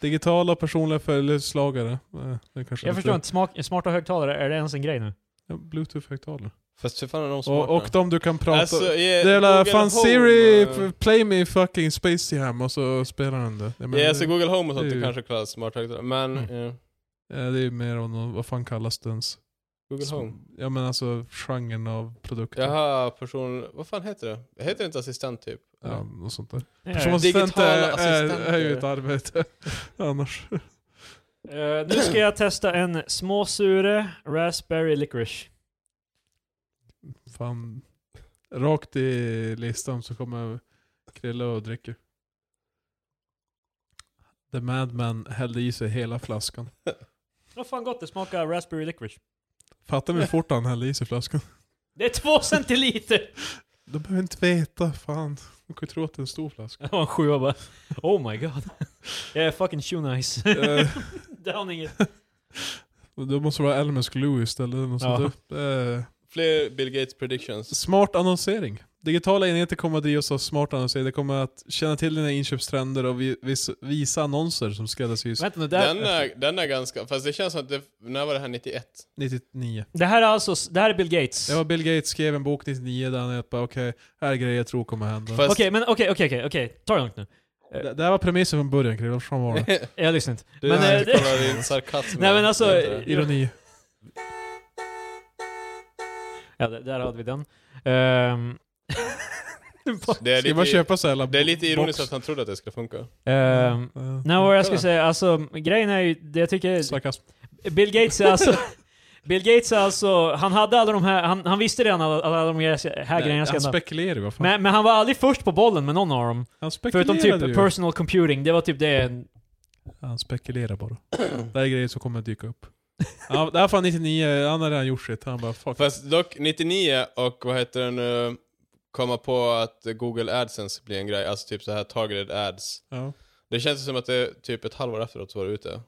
Digitala personliga följeslagare. Eh, det kanske
Jag
är
förstår
lite-
inte, smak, smarta högtalare, är det ens en grej nu?
Ja, Bluetooth-högtalare.
Fast hur fan är de
Och,
smarta?
och de du kan prata...
yeah,
det är jävla
Google
fan
Home,
Siri,
eh,
f- play me fucking Space Jam och så spelar den det. Jag
Ja,
menar,
så Google Home och sånt
det är
är
ju-
kanske kallas smart högtalare. Men,
Mm.
ja.
eh, det är mer om någon, vad fan kallas det ens?
Google
Som-
Home.
Ja men alltså genren av produkter.
Jaha, person... Vad fan heter det? Heter det inte assistent typ?
Ja, och sånt där.
Eh,
Personassistent
Digitala
är, är, är ju
assistenter.
ett arbete annars.
eh, nu ska jag testa en småsure raspberry licorice.
Fan. Rakt i listan så kommer Krille och dricker. The Madman hällde i sig hela flaskan.
Vad fan gott det smakar raspberry licorice.
Fattar ni hur fort han hällde i sig flaskan?
Det är två centiliter!
De behöver inte veta, fan. De kan ju tro att det är en stor flaska.
Det var en sjua bara. Oh my god. Jag är fucking shoe nice.
eh,
Down inget.
och då måste det vara Elmers glue istället. eller något
Ja.
sånt där. Eh,
Fler Bill Gates predictions.
smart annonsering. Digitala enheter kommer att drivas av smart annonsering. Det kommer att känna till dina inköpstrender och vi- vis- visa annonser som skräddarsys.
Vänta nu, det,
Den eh,
här,
är, den är ganska... Fast det känns som att det... När var det här? 91?
99.
det här är alltså, det här är Bill Gates.
Det var Bill Gates skrev en bok 99 där han bara okej, här är grejer jag tror kommer hända.
Fast-
Okej, men okej, okej, okej, okej. Ta det lugnt nu.
det, det här var premissen från början Chrille, vad fan var det?
Jag lyssnar inte.
Du
men,
är-
eh, det,
Kolla din sarkasm.
Nej, men alltså-
Det är inte det.
Ironi.
ja, där- där hade vi den. Ehm.
Det är
Ska man
lite,
köpa så här jävla
det är lite
box?
ironiskt att han trodde att det skulle funka.
Ehm,
Eh,
Nej, vad jag ska
Kolla.
säga, alltså grejen är ju, det jag tycker...
Sarkasm.
Bill Gates är alltså... Bill Gates är alltså, han hade alla de här, han, han visste redan alla, alla de här grejerna jag ska
han
hända.
spekulerar ju vad fan.
Men, men han var aldrig först på bollen med någon av dem.
han
Förutom
spekulerar
typ
ju.
personal computing, det var typ det.
han spekulerar bara. det här är grejer som kommer att dyka upp. ja, det här fan 99, han har redan gjort sitt. Han bara fuck.
Fast dock, 99 och vad heter det nu, komma på att Google AdSense blir en grej, alltså typ så här targeted ads.
Ja.
Det känns som att det är typ ett halvår efteråt så var det ute.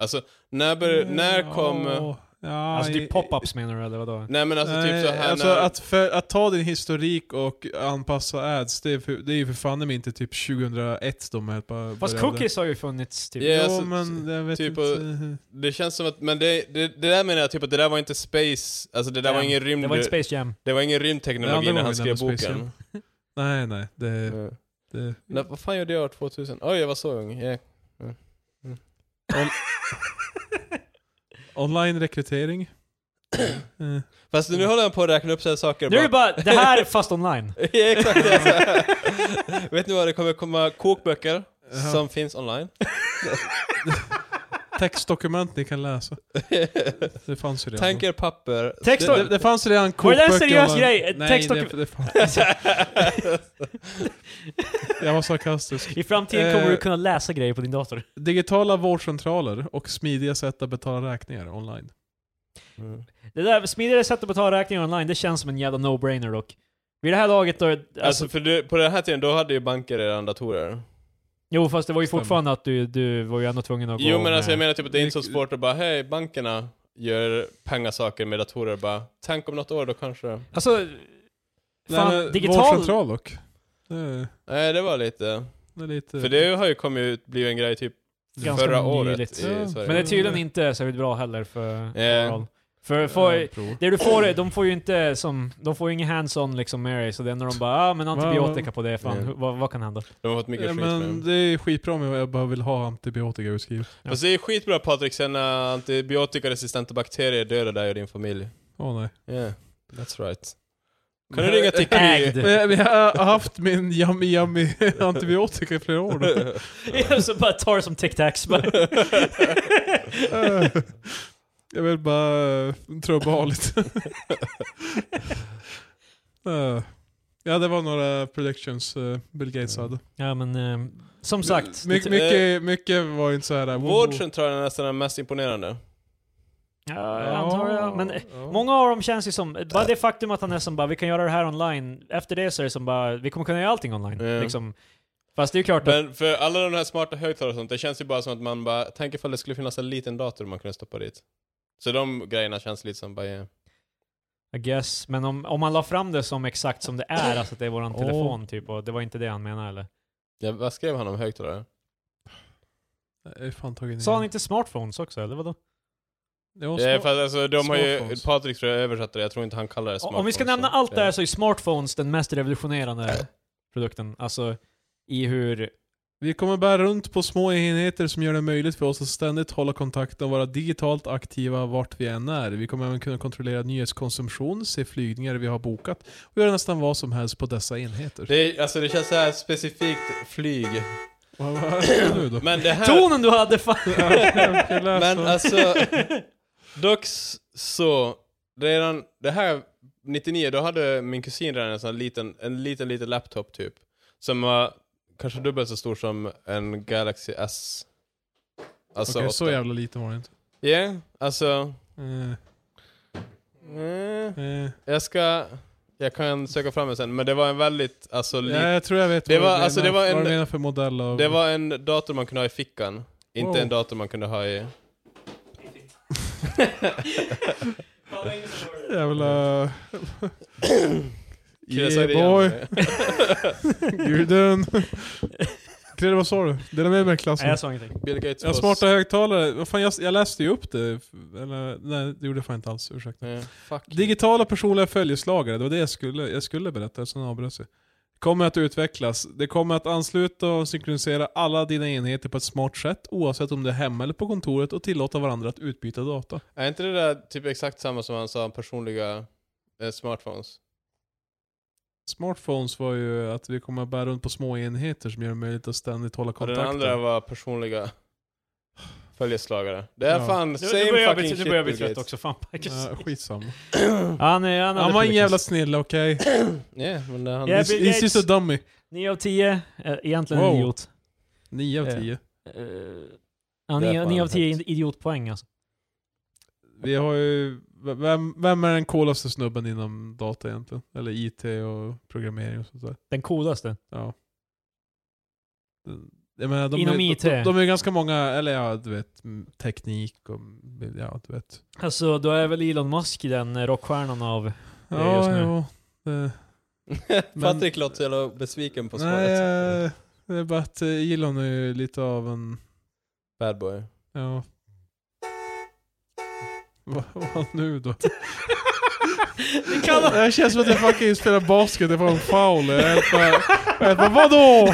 Alltså, när, bör, när kom...
Mm, Ja, Ja,
Alltså
i- Mm.
typ pop-ups menar du eller vadå?
Nej men alltså
Nej,
typ så här
alltså
när...
att, för, att ta din historik och anpassa ads, det är, för, det är ju för fan i mig inte typ 2001 de här bara
Fast
började.
cookies har ju funnits typ.
Ja,
Jo,
alltså,
men jag vet
typ
inte.
Det känns som att, men det, det, det där menar jag typ att det där var inte space, alltså det där var
Jam.
ingen rymd...
Det var inte Space Jam.
det var ingen
Det andra
rymdteknologi när
gången
han skrev
nämnde Space
boken.
Nej, nej. Det,
Mm.
det,
Nej, vad fan gjorde jag år 2000? Oj, jag var så ung. Yeah.
online-rekrytering. Eh,
Fast nu håller jag på att räkna upp så här saker.
Nu är det
bara-
bara, det här fast online.
ja, exakt. det är så här. Vet ni vad, det kommer komma kokböcker
Jaha.
som finns online.
Textdokument ni kan läsa. Det fanns ju redan.
Tänk er papper.
Text-
det, det, det fanns ju redan
Var det där en
kokböcker
seriös
online.
grej? Ett
Nej,
textdokument-
det, det fanns.
Det-
Jag var sarkastisk.
I framtiden kommer
Eh.
du kunna läsa grejer på din dator.
Digitala vårdcentraler och smidiga sätt att betala räkningar online.
Det där smidigare sättet att betala räkningar online, det känns som en jävla no-brainer dock. Vid det här laget då, alltså,
Alltså för du, på den här tiden, då hade ju banker redan datorer.
jo fast det var ju
Stämmer.
fortfarande att du, du var ju ändå tvungen att gå
Jo men
med-
alltså jag menar typ att det är inte så svårt att bara, hej bankerna gör pengasaker med datorer bara, tänk om något år då kanske.
Alltså, fan,
Nej, men
digital...
Vårdcentral dock. Det är,
Nej det var lite,
det är lite...
för det har ju kommit ut, blivit en grej typ
Ganska
förra året
nyligt.
i
Ja.
Sverige.
Men det är tydligen inte särskilt bra heller för...
Eh.
overall. För, för
Ja, prov.
det du får, är- de får ju inte som, de får ju ingen hands-on liksom med dig, så det är när de bara ah, men antibiotika på det, fan,
Mm.
hur- vad, vad kan hända?
De har fått mycket
Ja,
skit
men
med
det är skitbra om jag bara vill ha antibiotika utskrivet.
Ja.
Fast det är skitbra Patrik, sen när antibiotikaresistenta bakterier dödar dig och din familj.
Åh nej.
Yeah, that's right. Kan du ringa till
Ägd.
Kry?
Men jag, men jag har haft min yummy yummy antibiotika i flera år. nu.
så bara tar det som tic-tacs bara.
Eh, jag vill bara eh, trubba av lite. Eh, ja, det var några predictions eh, Bill Gates
Mm.
hade.
Ja men, eh, som sagt.
My,
eh,
mycket, mycket var inte så här... woho.
Vårdcentralen är nästan den mest imponerande.
Ja, jag
Ja,
antar jag. Men eh,
ja.
många av dem känns ju som, bara det faktum att han är som bara vi kan göra det här online, efter det så är det som bara vi kommer kunna göra allting online.
Ja.
Liksom. Fast det är ju klart att,
Men för alla de här smarta högtalare och sånt, det känns ju bara som att man bara, tänk ifall det skulle finnas en liten dator man kunde stoppa dit. Så de grejerna känns lite som bara, yeah.
I guess, men om, om man la fram det som exakt som det är, alltså att det är våran
Åh.
telefon typ, och det var inte det han menade eller?
ja, vad skrev han om högtalare?
Jag har fan tagit ner.
Sa han inte smartphones också eller vadå?
Det var
Ja,
små-
för att, alltså, de har ju,
smartphones.
Patrik tror jag översatte det, jag tror inte han kallar det smartphone.
Om vi ska nämna allt det här så är smartphones den mest revolutionerande produkten. Alltså i hur...
Vi kommer bära runt på små enheter som gör det möjligt för oss att ständigt hålla kontakten och vara digitalt aktiva vart vi än är. Vi kommer även kunna kontrollera nyhetskonsumtion, se flygningar vi har bokat och göra nästan vad som helst på dessa enheter.
Det, är- alltså det känns så här specifikt flyg.
Vad vad är det nu då?
Men det här...
Tonen du hade! Fan.
Men alltså, dock s- så, redan det här 99, då hade min kusin redan en sån här liten, en liten, liten laptop typ. Som var kanske dubbelt så stor som en Galaxy S. Alltså
Okej,
åtta.
så jävla liten var det inte.
Ja, alltså.
Eh,
Mm,
eh.
jag ska, jag kan söka fram den sen, men det var en väldigt, alltså, li-
Ja, jag tror jag vet
Det
vad,
var-
du
alltså,
menar,
det var en-
vad du menar för modell av...
det var en dator man kunde ha i fickan. Inte
Wow.
en dator man kunde ha i...
Jävla...
Kille, jag sa det
yeah boy,
igen.
guden. Krille vad sa du? Dela med mig i klassen.
Nej jag sa ingenting.
Bill Gates
Ja,
boss.
smarta högtalare. Vad fan, jag, jag läste ju upp det. F- Eller, nej, det gjorde jag fan inte alls. Ursäkta.
Ja, fuck.
Digitala personliga följeslagare, det var det jag skulle, jag skulle berätta eftersom jag avbröt sig. Kommer att utvecklas. Det kommer att ansluta och synkronisera alla dina enheter på ett smart sätt oavsett om du är hemma eller på kontoret och tillåta varandra att utbyta data.
Är inte det där typ exakt samma som han sa om personliga eh, smartphones?
Smartphones var ju att vi kommer att bära runt på små enheter som gör det möjligt att ständigt hålla
Och den andra
kontakten.
var personliga följeslagare. Det är
Ja.
fan
Nu,
same
nu börjar jag
fucking
bli, nu
shit
börjar jag bli
Bill
trött
Gates.
också, fan Marcus.
Ja, skitsamma.
Han, är, han, hade
Han var en
predictions.
jävla snille, okej?
Yeah, men det är han.
Yeah,
He's,
Bill
he's just a
Gates.
dummy.
9 av 10, eh, egentligen
Wow.
en idiot.
9 av
Ja.
10.
Eh, ja,
Det är
9,
fan
9 av 10
högt.
idiotpoäng alltså.
Vi har ju, vem, vem är den coolaste snubben inom data egentligen? Eller IT och programmering och sånt där.
Den coolaste.
Ja. Den- Jag menar, de
Inom
är,
IT.
De, de är ju ganska många, eller ja, du vet, mm, teknik och, ja, du vet.
Alltså, då är väl Elon Musk den eh, rockstjärnan av... Det är just
Ja,
nu.
jo. Det, Men-
Patrik låter så jävla besviken på
nej,
svaret.
eh, det är bara att eh, Elon är ju lite av en,
Bad boy.
ja. Vad vad nu då?
Det kan
Det här känns som att jag fucking spelar basket, jag får en foul. Jag är helt bara, jag är helt bara, vadå?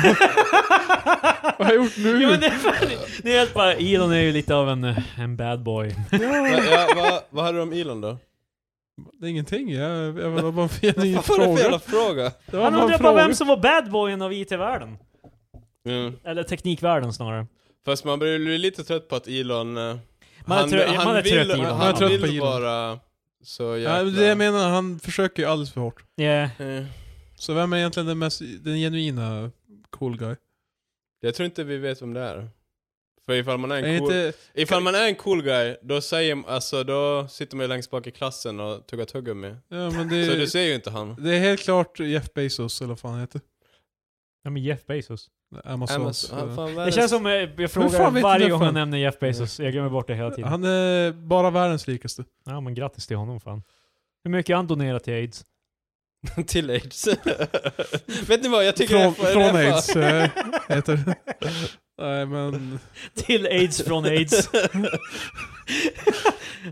Vad har jag gjort nu?
Ja, men det, är fan, det är helt bara, Elon är ju lite av en, eh, en bad boy.
Va, ja, va, vad hade du om Elon då?
Det är ingenting, jag, jag, jag bara jag hade ingen
Vad var det för
fråga.
jävla fråga?
Det var
Han
bara en
undrar bara
fråga.
vem som var bad boyen av IT-världen.
Mm.
Eller teknikvärlden snarare.
Fast man blir ju lite trött på att Elon... eh,
Man är trött- man är
vill,
trött i Elon.
Han,
Man är
trött
vill
på Elon.
vara så jävla...
Ja, men det jag menar, han försöker ju alldeles för hårt.
Yeah.
Eh,
Så vem är egentligen den, mest, den genuina cool guy?
Jag tror inte vi vet vem det är. För ifall man är en
Är
cool...
inte,
Ifall man är en cool guy, då säger alltså då sitter man ju längst bak i klassen och tuggar tuggummi.
ja, men
Så du
det,
ser ju inte han.
det är helt klart Jeff Bezos, eller vad fan han heter.
Ja, men Jeff Bezos.
Amazons.
Amazon- han
eh,
fan
Det
världens-
känns som eh, jag
fan
frågar
vet
varje
du
gång
fan?
jag nämner Jeff Bezos. Jag glömmer bort det hela tiden.
Han är bara världens rikaste.
Ja men grattis till honom fan. Hur mycket har han donerat till aids?
till aids. Vet ni vad, jag tycker
Från,
det är- det är
från
fan-
aids, eh, heter det. Nej men,
Till aids från aids.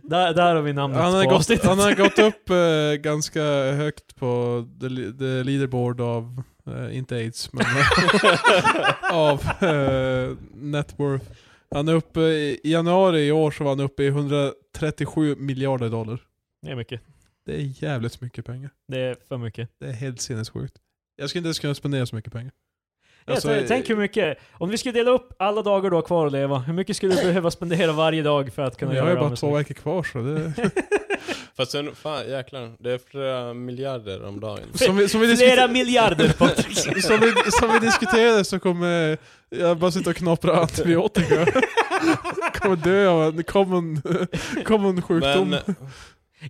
där, där har vi namnet
han har,
på
gått,
avsnittet.
han har gått upp eh, ganska högt på the, li- the leaderboard av, eh, inte aids, men av eh, net worth. Han är uppe, i i januari i år så var han uppe i 137 miljarder dollar.
Det är mycket.
Det är jävligt mycket pengar.
Det är för mycket.
Det är helt sinnessjukt. Jag skulle inte ens kunna spendera så mycket pengar.
Alltså,
Alltså,
jag, tänk hur mycket. Om vi skulle dela upp alla dagar du har kvar att leva, hur mycket skulle du behöva spendera varje dag för att kunna
jag
göra
har ju
av
bara
med
två
så mycket?
veckor kvar så det...
Fast sen, fan jäklar. Det är flera miljarder om dagen.
Som vi, som vi
Flera
diskuter-
miljarder Patrik.
som, vi, som vi diskuterade så kommer jag bara sitta och knapra antibiotika. kommer dö av en common, common sjukdom.
Men,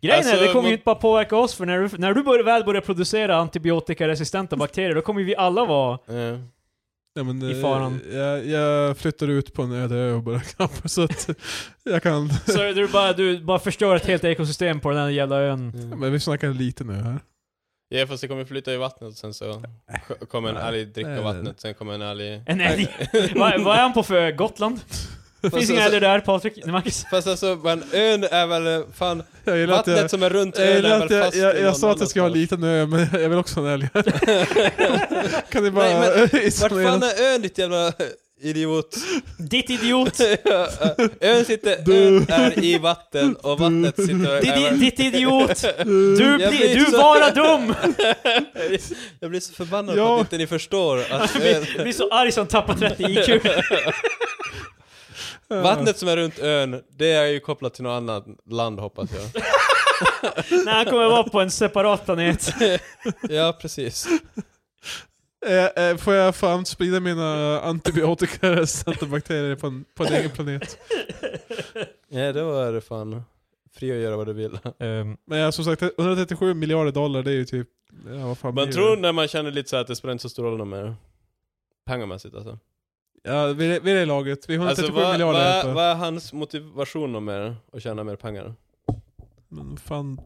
Grejen är,
Alltså,
det kommer
man-
ju inte bara påverka oss, för när du, när du börjar, väl börjar producera antibiotikaresistenta bakterier, då kommer ju vi alla vara...
eh,
ja, men,
i
eh,
faran.
Jag, jag flyttar ut på en öde ö och börjar knapra så att jag kan...
Så du bara, du bara förstör ett helt ekosystem på den här jävla ön.
Ja, Men vi snackar lite nu här.
eh. ja fast det kommer flyta i vattnet och sen så ko- kommer en
Nej.
alg dricka
Nej, nej, nej.
vattnet, sen kommer en alg...
En älg. Vad vad är han på för Gotland? Det
Fast
finns inga
alltså-
älgar där Patrik. Nej, Marcus.
Fast alltså, men ön är väl eh, fan...
Jag gillar att
Vattnet
jag...
som är runt
Eh, Jag,
ön
gillar
är
att
väl
jag,
fast
jag,
i
jag
någon
sa att jag ska ha en
annanstans.
liten ö, men jag vill också ha en älg här. kan ni bara
Nej, men Vart
isolera?
fan är ön ditt jävla idiot?
Ditt idiot.
Ja, eh, ön sitter, ön är i vatten och vattnet sitter...
Ditt, ditt idiot.
Du,
Du,
Jag
blir,
blir
du
så-
bara dum.
Jag blir så förbannad
Ja.
på att inte ni förstår att ön,
Blir, blir så arg som tappar 30 IQ.
vattnet som är runt ön, det är ju kopplat till något annat land hoppas jag.
När han kommer vara på en separat planet.
Ja, precis.
Eh, eh, får jag fan sprida mina antibiotikaresistenta bakterier på en, på en egen planet?
Ja, då är det fan fri att göra vad du vill. Ehm,
Men jag, som sagt, 137 miljarder dollar det är ju typ... Ja, vad fan
Man
blir
tror
det?
när man känner lite så här att det spelar inte så stor roll mer. Pengamässigt alltså.
Ja, vi, vi är det laget. Vi är 137
Alltså vad,
miljarder. här
vad,
uppe.
vad är hans motivation om mer? Att tjäna mer pengar?
Men fan...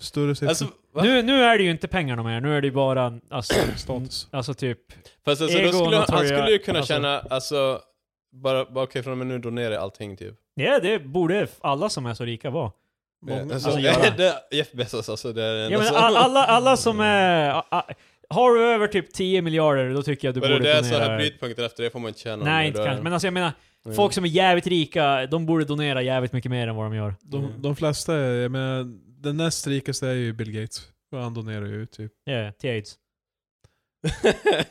Större siffror.
Alltså, va? Mm.
nu, nu är det ju inte pengarna mer, nu är det ju bara alltså,
status.
alltså typ...
Fast alltså,
Ego
då
och
skulle, han- han
notoria-
skulle ju kunna
alltså-
känna, alltså, bara, bara okej från och med nu donerar jag allting typ.
Ja, det borde alla som är så rika vara.
Många.
Alltså,
Alltså, göra.
det, Jeff Bezos alltså, Mm. det är det
Ja,
enda
men
som-
all- alla, alla som är... a- a- Har du över typ 10 miljarder, då tycker jag du
Men
borde
det är
donera...
sådana brytpunkter efter det får man inte tjäna.
Nej,
Då
inte
är-
kanske. Men alltså jag menar,
Mm.
folk som är jävligt rika, de borde donera jävligt mycket mer än vad de gör.
De, de flesta, är- jag menar, den näst rikaste är ju Bill Gates. Och han donerar ju typ.
Yeah, till aids.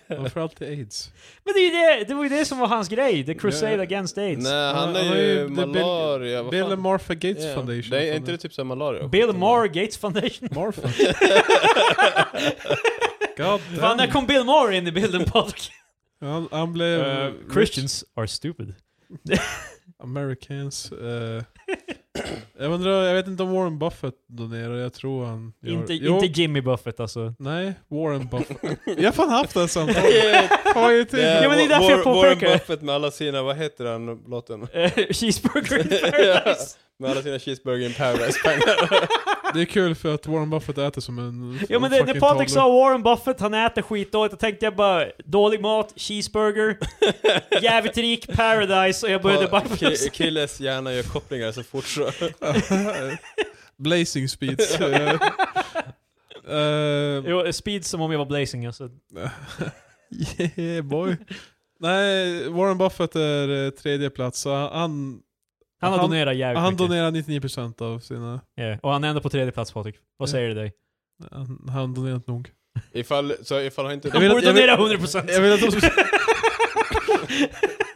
Framförallt till aids.
Men det, är ju det, det var ju det som var hans grej, the crusade
Ja.
against aids.
Nej, han
Ja,
är
han
ju
är ju- det är Bill-
malaria. vad
Bill
fan?
and Martha Gates
Ja.
Foundation.
Det är inte det typ såhär malaria?
Bill Maher Gates Foundation.
Martha? God
Fan,
damn.
där kom Bill Maher in i bilden Patrik. Uh,
Han, han
Ehm,
blev...
Eh, Christians are stupid.
Americans. eh, Jag undrar, jag vet inte om Warren Buffett donerar, jag tror han gör-
Inte,
Jo,
inte Jimmy Buffett alltså.
Nej, Warren Buffett. jag har fan haft det samtalet.
Ja,
Fan, vad irriterande.
Ja, men det är därför jag
War- Warren
påpekar.
Buffett med alla sina, vad heter den låten?
Eh, Cheeseburger in paradise.
Med alla sina cheeseburger in paradise-pengar.
Det är kul för att Warren Buffett äter som en
Ja men det, när Patrik sa Warren Buffett, han äter skitdåligt, då tänkte jag bara dålig mat, cheeseburger, jävligt rik, paradise och jag började bara...
Ki- Killes hjärna gör kopplingar så fort så.
Blazing speeds. Eh, eh,
Jo, speed som om jag var blazing alltså.
yeah boy. Nej, Warren Buffett är eh, tredje plats. Så han,
Han har
Han-
donerat jävligt
han
mycket.
donerar 99% av sina...
Ja, Och han är ändå på tredje plats Patrik. Vad
Ja.
säger det dig?
Han, han donerat nog.
Ifall, så ifall han inte...
Han
vill att-
borde
jag
donera
vill-
100%!
Jag vill att de ska...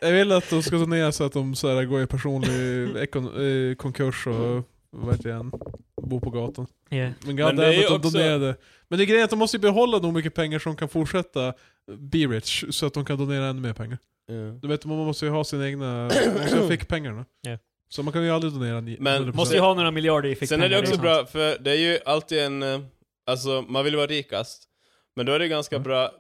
Jag vill att de ska donera så att de så här, går i personlig ekon, eh, konkurs och vad heter han? Bor på gatan.
Ja.
Men
Men det är ju
goddammit, de
också-
donerade. Men det är grejen att de måste ju behålla nog mycket pengar så de kan fortsätta eh, be rich, så att de kan donera ännu mer pengar.
Ja.
Du vet, man måste ju ha sina egna, man måste ju ha fickpengarna.
Ja.
Så man kan ju aldrig donera ni-
Men
100%.
Måste ju ha några miljarder i liksom. fickan.
Sen är det också bra, för det är ju alltid en... eh, Alltså, man vill vara rikast. Men då är det ganska
Mm.
bra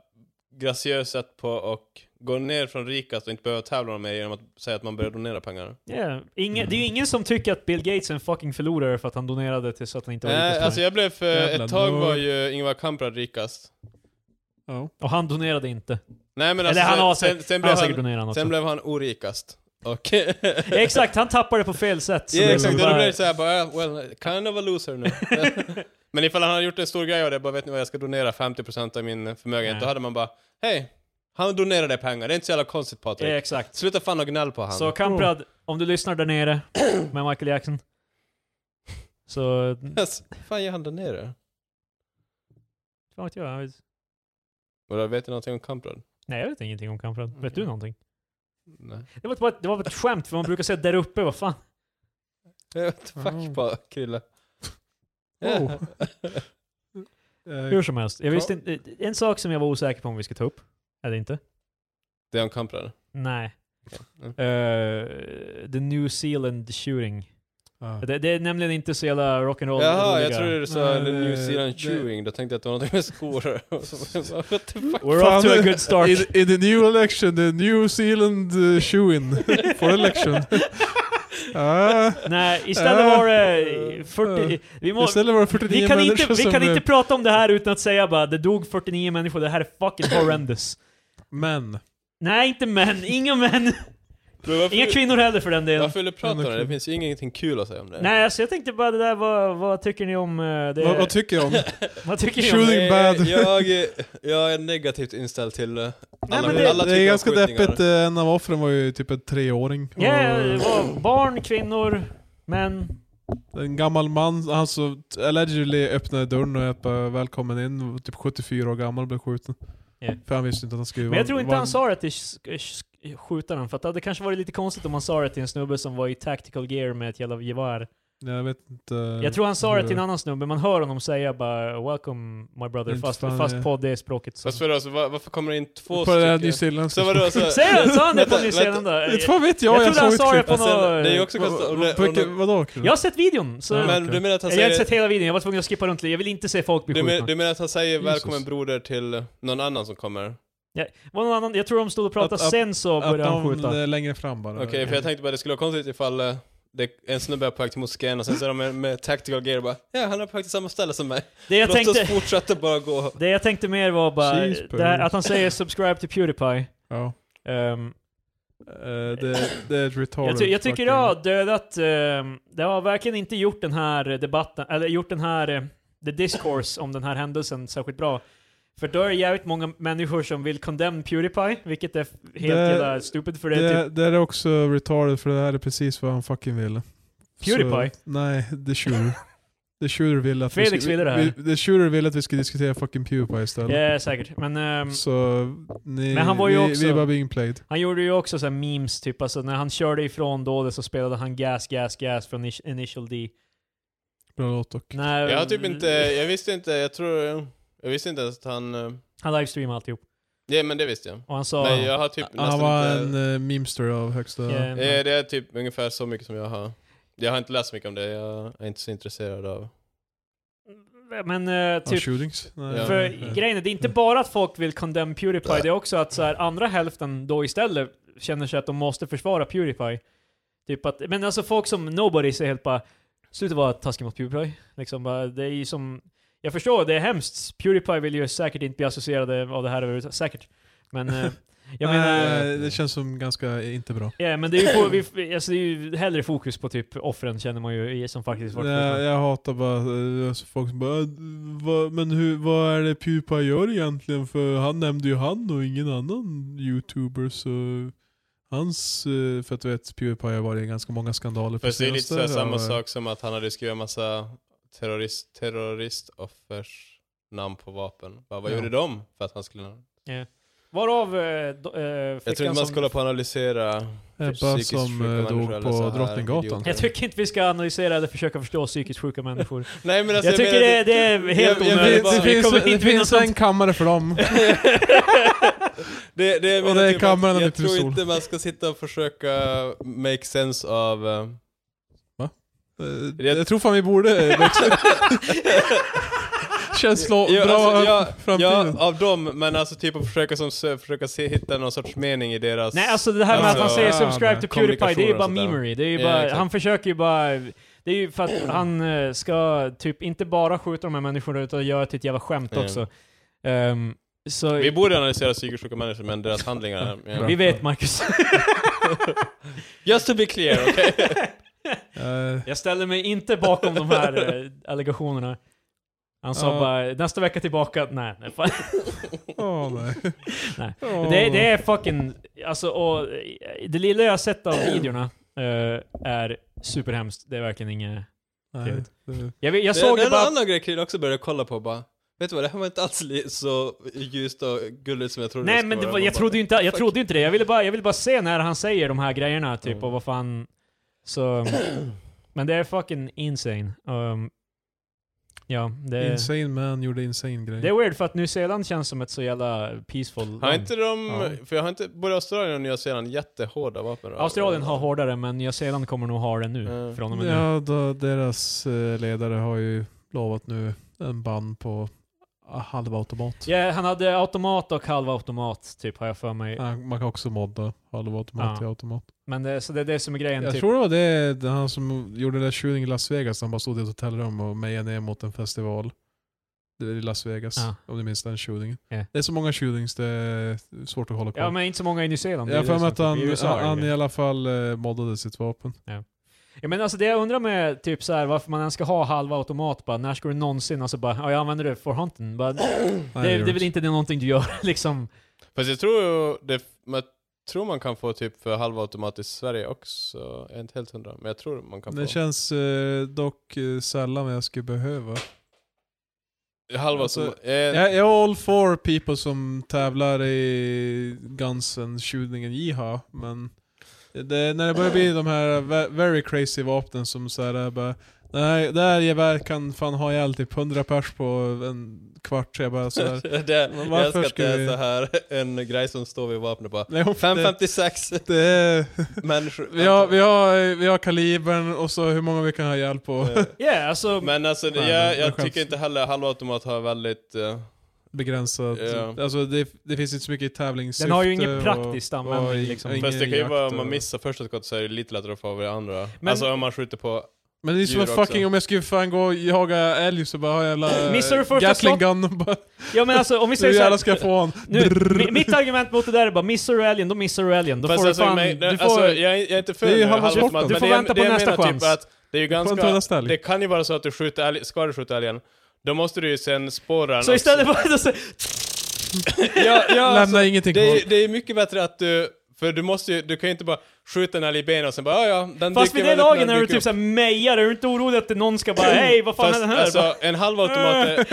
graciöst sätt på att gå ner från rikast och inte behöva tävla med genom att säga att man börjar donera pengar.
Ja, Ingen, det är ju ingen som tycker att Bill Gates är en fucking förlorare för att han donerade till så att han inte var
Nej,
rikast.
alltså jag blev för...
Jävla
Ett tag var
nörd.
ju Ingvar Kamprad rikast.
Ja.
Och han donerade inte.
Nej men
Eller han har,
alltså, sen,
sen,
sen, sen,
han har
blev
säkert
han,
donerat han också.
sen blev han orikast. Och...
Ja, Exakt, han tappade på fel sätt. så
Ja
det var
exakt, och då
bara-
blir det såhär bara, eh, well, kind of a loser nu. Men ifall han hade gjort en stor grej av det, bara vet ni vad, jag ska donera 50% av min förmögenhet,
Nej.
då hade man bara, hej, han donerade pengar, det är inte så jävla konstigt Patrik.
Ja, exakt.
Sluta fan och gnäll på han.
Så Kamprad, om du lyssnar där nere med Michael Jackson. Så, fan
Yes, Alltså, fan gör han donerar?
vet jag. jag vet-
Vadå, vet du någonting om Kamprad?
Nej jag vet ingenting om Kamprad. Vet du
Okej.
någonting?
Nej.
Det var, bara, ett- det var bara ett skämt, för man brukar säga där uppe, vad fan.
Jag vet fuck
Mm.
på Krille.
Oh.
Hur
Eh,
som helst, jag visste inte, en sak som jag var osäker på om vi ska ta upp, eller inte.
Det är om Kamprad.
Nej.
Mm.
Eh, the New Zealand shooting.
ja.
Det, det är nämligen inte så jävla rock'n'roll
Jaha,
roliga.
jag trodde du sa
Nej,
The New
det-
Zealand
det-
Chewing, då tänkte jag att det var någonting med skor. Och så bara, What the fuck?
We're
Fan,
off to a
det-
good start.
In, in the new election, the New Zealand uh, shoe-in for election. ah,
Nej, istället var det 40... Vi, må,
istället var det 49
vi, kan,
människor
inte, vi
som
kan
blev-
inte prata om det här utan att säga bara det dog 49 människor, det här är fucking horrendous.
Men,
Nej, inte män. Inga män.
Men varför-
Inga kvinnor heller för den delen.
Varför vill du prata om det?
Okej.
Det finns ju ingenting kul att säga om det.
Nej, alltså jag tänkte bara det där, vad, vad tycker ni om eh, det?
vad, vad tycker jag om
vad tycker ni om
Shooting
det?
Nej,
bad.
Jag, jag är negativt inställd till eh, alla,
men det-
Det
alla typer
är
av
ganska
skjutningar.
deppigt, eh, en av offren var ju typ en treåring.
Ja, det var barn, kvinnor, män.
Och en gammal man, han så allegedly öppnade dörren och jag bara välkommen in, typ 74 år gammal blev skjuten.
Ja.
För han visste inte att han skulle
Men jag tror inte han sa det till sk- eh, sk- skjutaren, för att det hade kanske varit lite konstigt om han sa det till en snubbe som var i tactical gear med ett jävla gevär.
Jag vet inte.
Jag tror han sa det till en
hur-
annan snubbe, man hör honom säga bara 'Welcome my brother'
Inte
fast,
fan, eh.
fast
ja.
på det språket. Så.
Fast vadå, så var, varför kommer det in två
På det där
stycken?
nyzeeländska.
Så vadå, så...
Säger han, sa han det på
Vänta,
Nya Zeeland? då?
Inte fan vet jag,
Jag
jag,
trodde han
såg
sa det
ett
på
klipp.
Men sen,
någon-
det är ju också konstigt. om det-
Vad-
om det-
vilket- Vadå? Krull?
Jag har sett videon, så...
Ja,
jag
Men du menar att han
har inte
säger...
sett hela videon, jag var tvungen att skippa runt lite. Jag vill inte se folk bli
Du, men,
skjutna.
du menar att han säger
Jesus.
välkommen broder till någon annan som kommer?
Var någon annan, jag tror de stod och pratade,
Att- att-
sen så
Att
började han
de
skjuta.
eh,
är längre fram bara.
Okej, för jag tänkte bara det skulle vara konstigt ifall eh, det, en snubbe är på väg till moskén och sen så är de med, med tactical gear och bara Ja, han är på väg till samma ställe som mig.
Det jag,
Låt
tänkte,
oss fortsätta bara gå.
det jag tänkte mer var bara
Cheeseburger.
det här, att han säger 'subscribe to Pewdiepie'
Ja.
Ehm,
Eh, det, det är ett retarded
jag, ty- jag tycker
fucking-
det har dödat, ehm, det har verkligen inte gjort den här debatten, eller gjort den här, eh, the discourse om den här händelsen särskilt bra. För då är det jävligt många människor som vill condemn Pewdiepie, vilket är f- helt
Det-
jävla stupid för det, är typ
Det, det är också retarded för det här är precis vad han fucking ville.
Pewdiepie?
Så, nej, The Shooter. The Shooter ville att
Felix
vi skulle,
ville det här.
Vi, the Shooter ville att vi skulle diskutera fucking Pewdiepie istället.
Ja, säkert. Men ehm,
Så ni,
Men han var ju
vi,
också-
vi är bara being played.
han gjorde ju också så här memes, typ alltså när han körde ifrån dådet så spelade han Gas, Gas, Gas från Init- Initial D.
Bra låt dock.
När, eh,
Jag har typ inte, jag visste inte, jag tror, jag visste inte ens att han... eh,
Han livestreamade alltihop.
Ja, men det visste jag.
Och han sa...
Nej, jag har typ
Han
nästan
var
inte...
en eh, memester av högsta...
Ja,
Eh, Det är typ ungefär så mycket som jag har. Jag har inte läst så mycket om det, jag är inte så intresserad av...
Men eh,
Typ.
typ,
Shootings? Nej.
Ja.
för
Nej.
grejen är, det är inte bara att folk vill condemn Pewdiepie, det är också att så här, andra hälften då istället känner sig att de måste försvara Pewdiepie. Typ att, men alltså folk som nobody säger helt bara Sluta vara taskig mot Pewdiepie. Liksom bara, det är ju som... Jag förstår, det är hemskt. Pewdiepie vill ju säkert inte bli associerade av det här överhuvudtaget. Säkert. Men eh, jag menar...
Nej, det känns som ganska eh, inte bra.
Ja, men det är, ju på, vi, alltså det är ju hellre fokus på typ offren känner man ju, i- som faktiskt varit
Eh, Jag, jag hatar bara eh, alltså, folk som bara "Äh, vad, Men hur, vad är det Pewdiepie gör egentligen? För han nämnde ju han och ingen annan youtuber så Hans, eh, för att du vet Pewdiepie har varit i ganska många skandaler
Fast det är lite
senaste, eh,
såhär samma
ja,
sak som att han hade skrivit en massa terrorist, terroristoffers namn på vapen. Bara, vad
Ja.
gjorde de för att han skulle...
Varav eh, do, eh,
Jag tror
flickan
inte man ska
som...
hålla på och analysera
Ebba
Psykiskt
som eh,
sjuka människor,
dog
eller så
på
här
Drottninggatan.
idioter.
Jag tycker inte vi ska analysera eller försöka förstå psykiskt sjuka människor.
Nej men alltså,
jag tycker
menar,
det, det är helt
jag- jag
Det,
onödigt.
vet-
det
Vi
finns,
kommer
det
inte vinna
finns
något.
en kammare för dem.
det, det jag
Och det
menar typ
är
att
kameran är
Jag
lite för
tror
stor.
inte man ska sitta och försöka make sense av... eh,
Eh,
Jag-
Jag tror fan vi borde eh, växa Känns lo-
Ja,
bra
alltså, ja,
framtiden.
Ja, av dem, men alltså typ att försöka, som, försöka se, hitta någon sorts mening i deras...
Nej, alltså det här med att han
Alltså,
säger
ja,
subscribe
men
to Pewdiepie, det är ju
kommunikation
bara
och sånt där.
memery. Det är ju
alltså. Ja,
bara,
exakt.
han försöker ju bara... Det är ju för att han eh, ska typ inte bara skjuta de här människorna utan göra till ett jävla skämt
Mm.
också. Ehm, så
Vi borde analysera psykiskt sjuka människor, men deras handlingar... ja.
vi vet Marcus.
Just to be clear, okej?
Eh,
Jag ställer mig inte bakom de här eh, allegationerna. Han sa
Ja.
bara nästa vecka tillbaka, nej. nej fan.
åh, nej.
Nej.
Åh.
Det, det är fucking, alltså och, eh, det lilla jag har sett av videorna eh, är superhemskt. Det är verkligen inget...
Nej, det-
Jag, vet- jag
Det,
såg
det är
det
en
bara...
annan grej Krid också började kolla på bara. Vet du vad, det här var inte alls li- så ljust och gulligt som jag trodde
Nej
skulle
men det
vara.
var,
Man
jag,
bara,
trodde ju inte, jag
fuck.
trodde ju inte det. Jag ville, bara, jag ville bara se när han säger de här grejerna typ
Mm.
och vad fan... Så... Men det är fucking insane. Um, ja, det...
Insane man gjorde insane
Det
grejer.
är weird för att New Zeeland känns som ett så jävla peaceful
Har
land.
inte de,
Ja.
för jag har inte, både Australien och Nya Zeeland jättehårda vapen?
Australien har hårdare men Nya Zeeland kommer nog ha det nu.
Mm.
Från och med nu.
Ja, då, deras eh, ledare har ju lovat nu en ban på ah, halvautomat.
Ja, han hade automat och halvautomat typ har jag för mig.
Ah, Man kan också modda halvautomat
Ja.
till automat.
Men det, så det är det som är grejen.
Jag
typ.
tror det var det, det han som gjorde den där shooting i Las Vegas, han bara stod i ett hotellrum och mejade ner mot en festival. Det är i Las Vegas,
Ja.
om du minns den shootingen.
Ja.
Det är så många shootings, det är svårt att hålla koll
Ja men inte så många i Nya Zeeland.
Jag har för mig att han,
typ I USA,
han, i alla fall eh, moddade sitt vapen.
ja, men alltså det jag undrar med typ så här, varför man ens ska ha halvautomat bara, när ska du någonsin, alltså bara, ja jag använder det för hunten. Bara, det,
Nej,
det
gör
är väl inte någonting du gör liksom.
Fast jag tror ju det, man tror man kan få typ för halvautomatiskt i Sverige också. Jag är inte helt hundra, men jag tror man kan
Det
få.
känns eh, dock eh, sällan vad jag skulle behöva.
Alltså,
Halvautomat, eh,
Jag, jag är all for people som tävlar i guns and shooting jiha, men det, när det börjar bli de här ve- very crazy vapnen som såhär bara Nej, det här geväret kan fan ha ihjäl typ 100 pers på en kvart, så jag bara såhär
det,
Men
jag
varför
älskar att
ska
det är
vi-
så här en grej som står vid vapnet bara.
Nej, det,
556
det är,
människor.
vi, har, vi, har, vi har kalibern och så hur många vi kan ha ihjäl på
Eh.
Ja, yeah, alltså.
Men alltså,
Nej,
jag,
men- men
jag
skämt.
tycker inte heller halvautomat har väldigt... eh,
begränsat.
Ja.
Alltså det, det finns inte så mycket tävlingssyfte.
Den har ju ingen
och-
praktisk användning,
och i-
liksom.
och ingen
fast det kan ju
jakt
vara, om
och-
man missar första skottet så är det lite lättare att få över det andra.
Men-
alltså om man skjuter på...
Men det är som
djur
att fucking
också.
om jag skulle fan gå och jaga älg så bara har jag jävla
Eh, Missar du första
Gatling
slott-
gun och bara
Ja men alltså om vi
hur
säger såhär.
jävla ska jag få han?
Nu, mi- mitt argument mot det där är bara missar du älgen, då missar du älgen. Då
Fast
får du
alltså,
fan...
men-
du får,
alltså, jag, är- jag är inte för
Det är ju
med
halva sporten.
halvautomat,
Du
men
får
det jag-
vänta på
det jag
nästa
menar
chans.
Typ att det är ju
Fan, ta
ganska...
nästa älg.
Det kan ju vara så att du skjuter älg, ska du skjuta älgen, då måste du ju sen spåra den
så
också.
istället för att...
ja, ja,
Lämna
alltså,
ingenting
det,
kvar.
är, det är mycket bättre att du... För du måste ju, du kan ju inte bara skjuta en älg i benen och sen bara ja, ja, den
Fast
dyker
vid det
väl upp
laget när
den
du
dyker
typ
upp."
såhär mejar, är du inte orolig att det någon ska bara hej vad fan
fast,
är det här?
Alltså, en halvautomat är,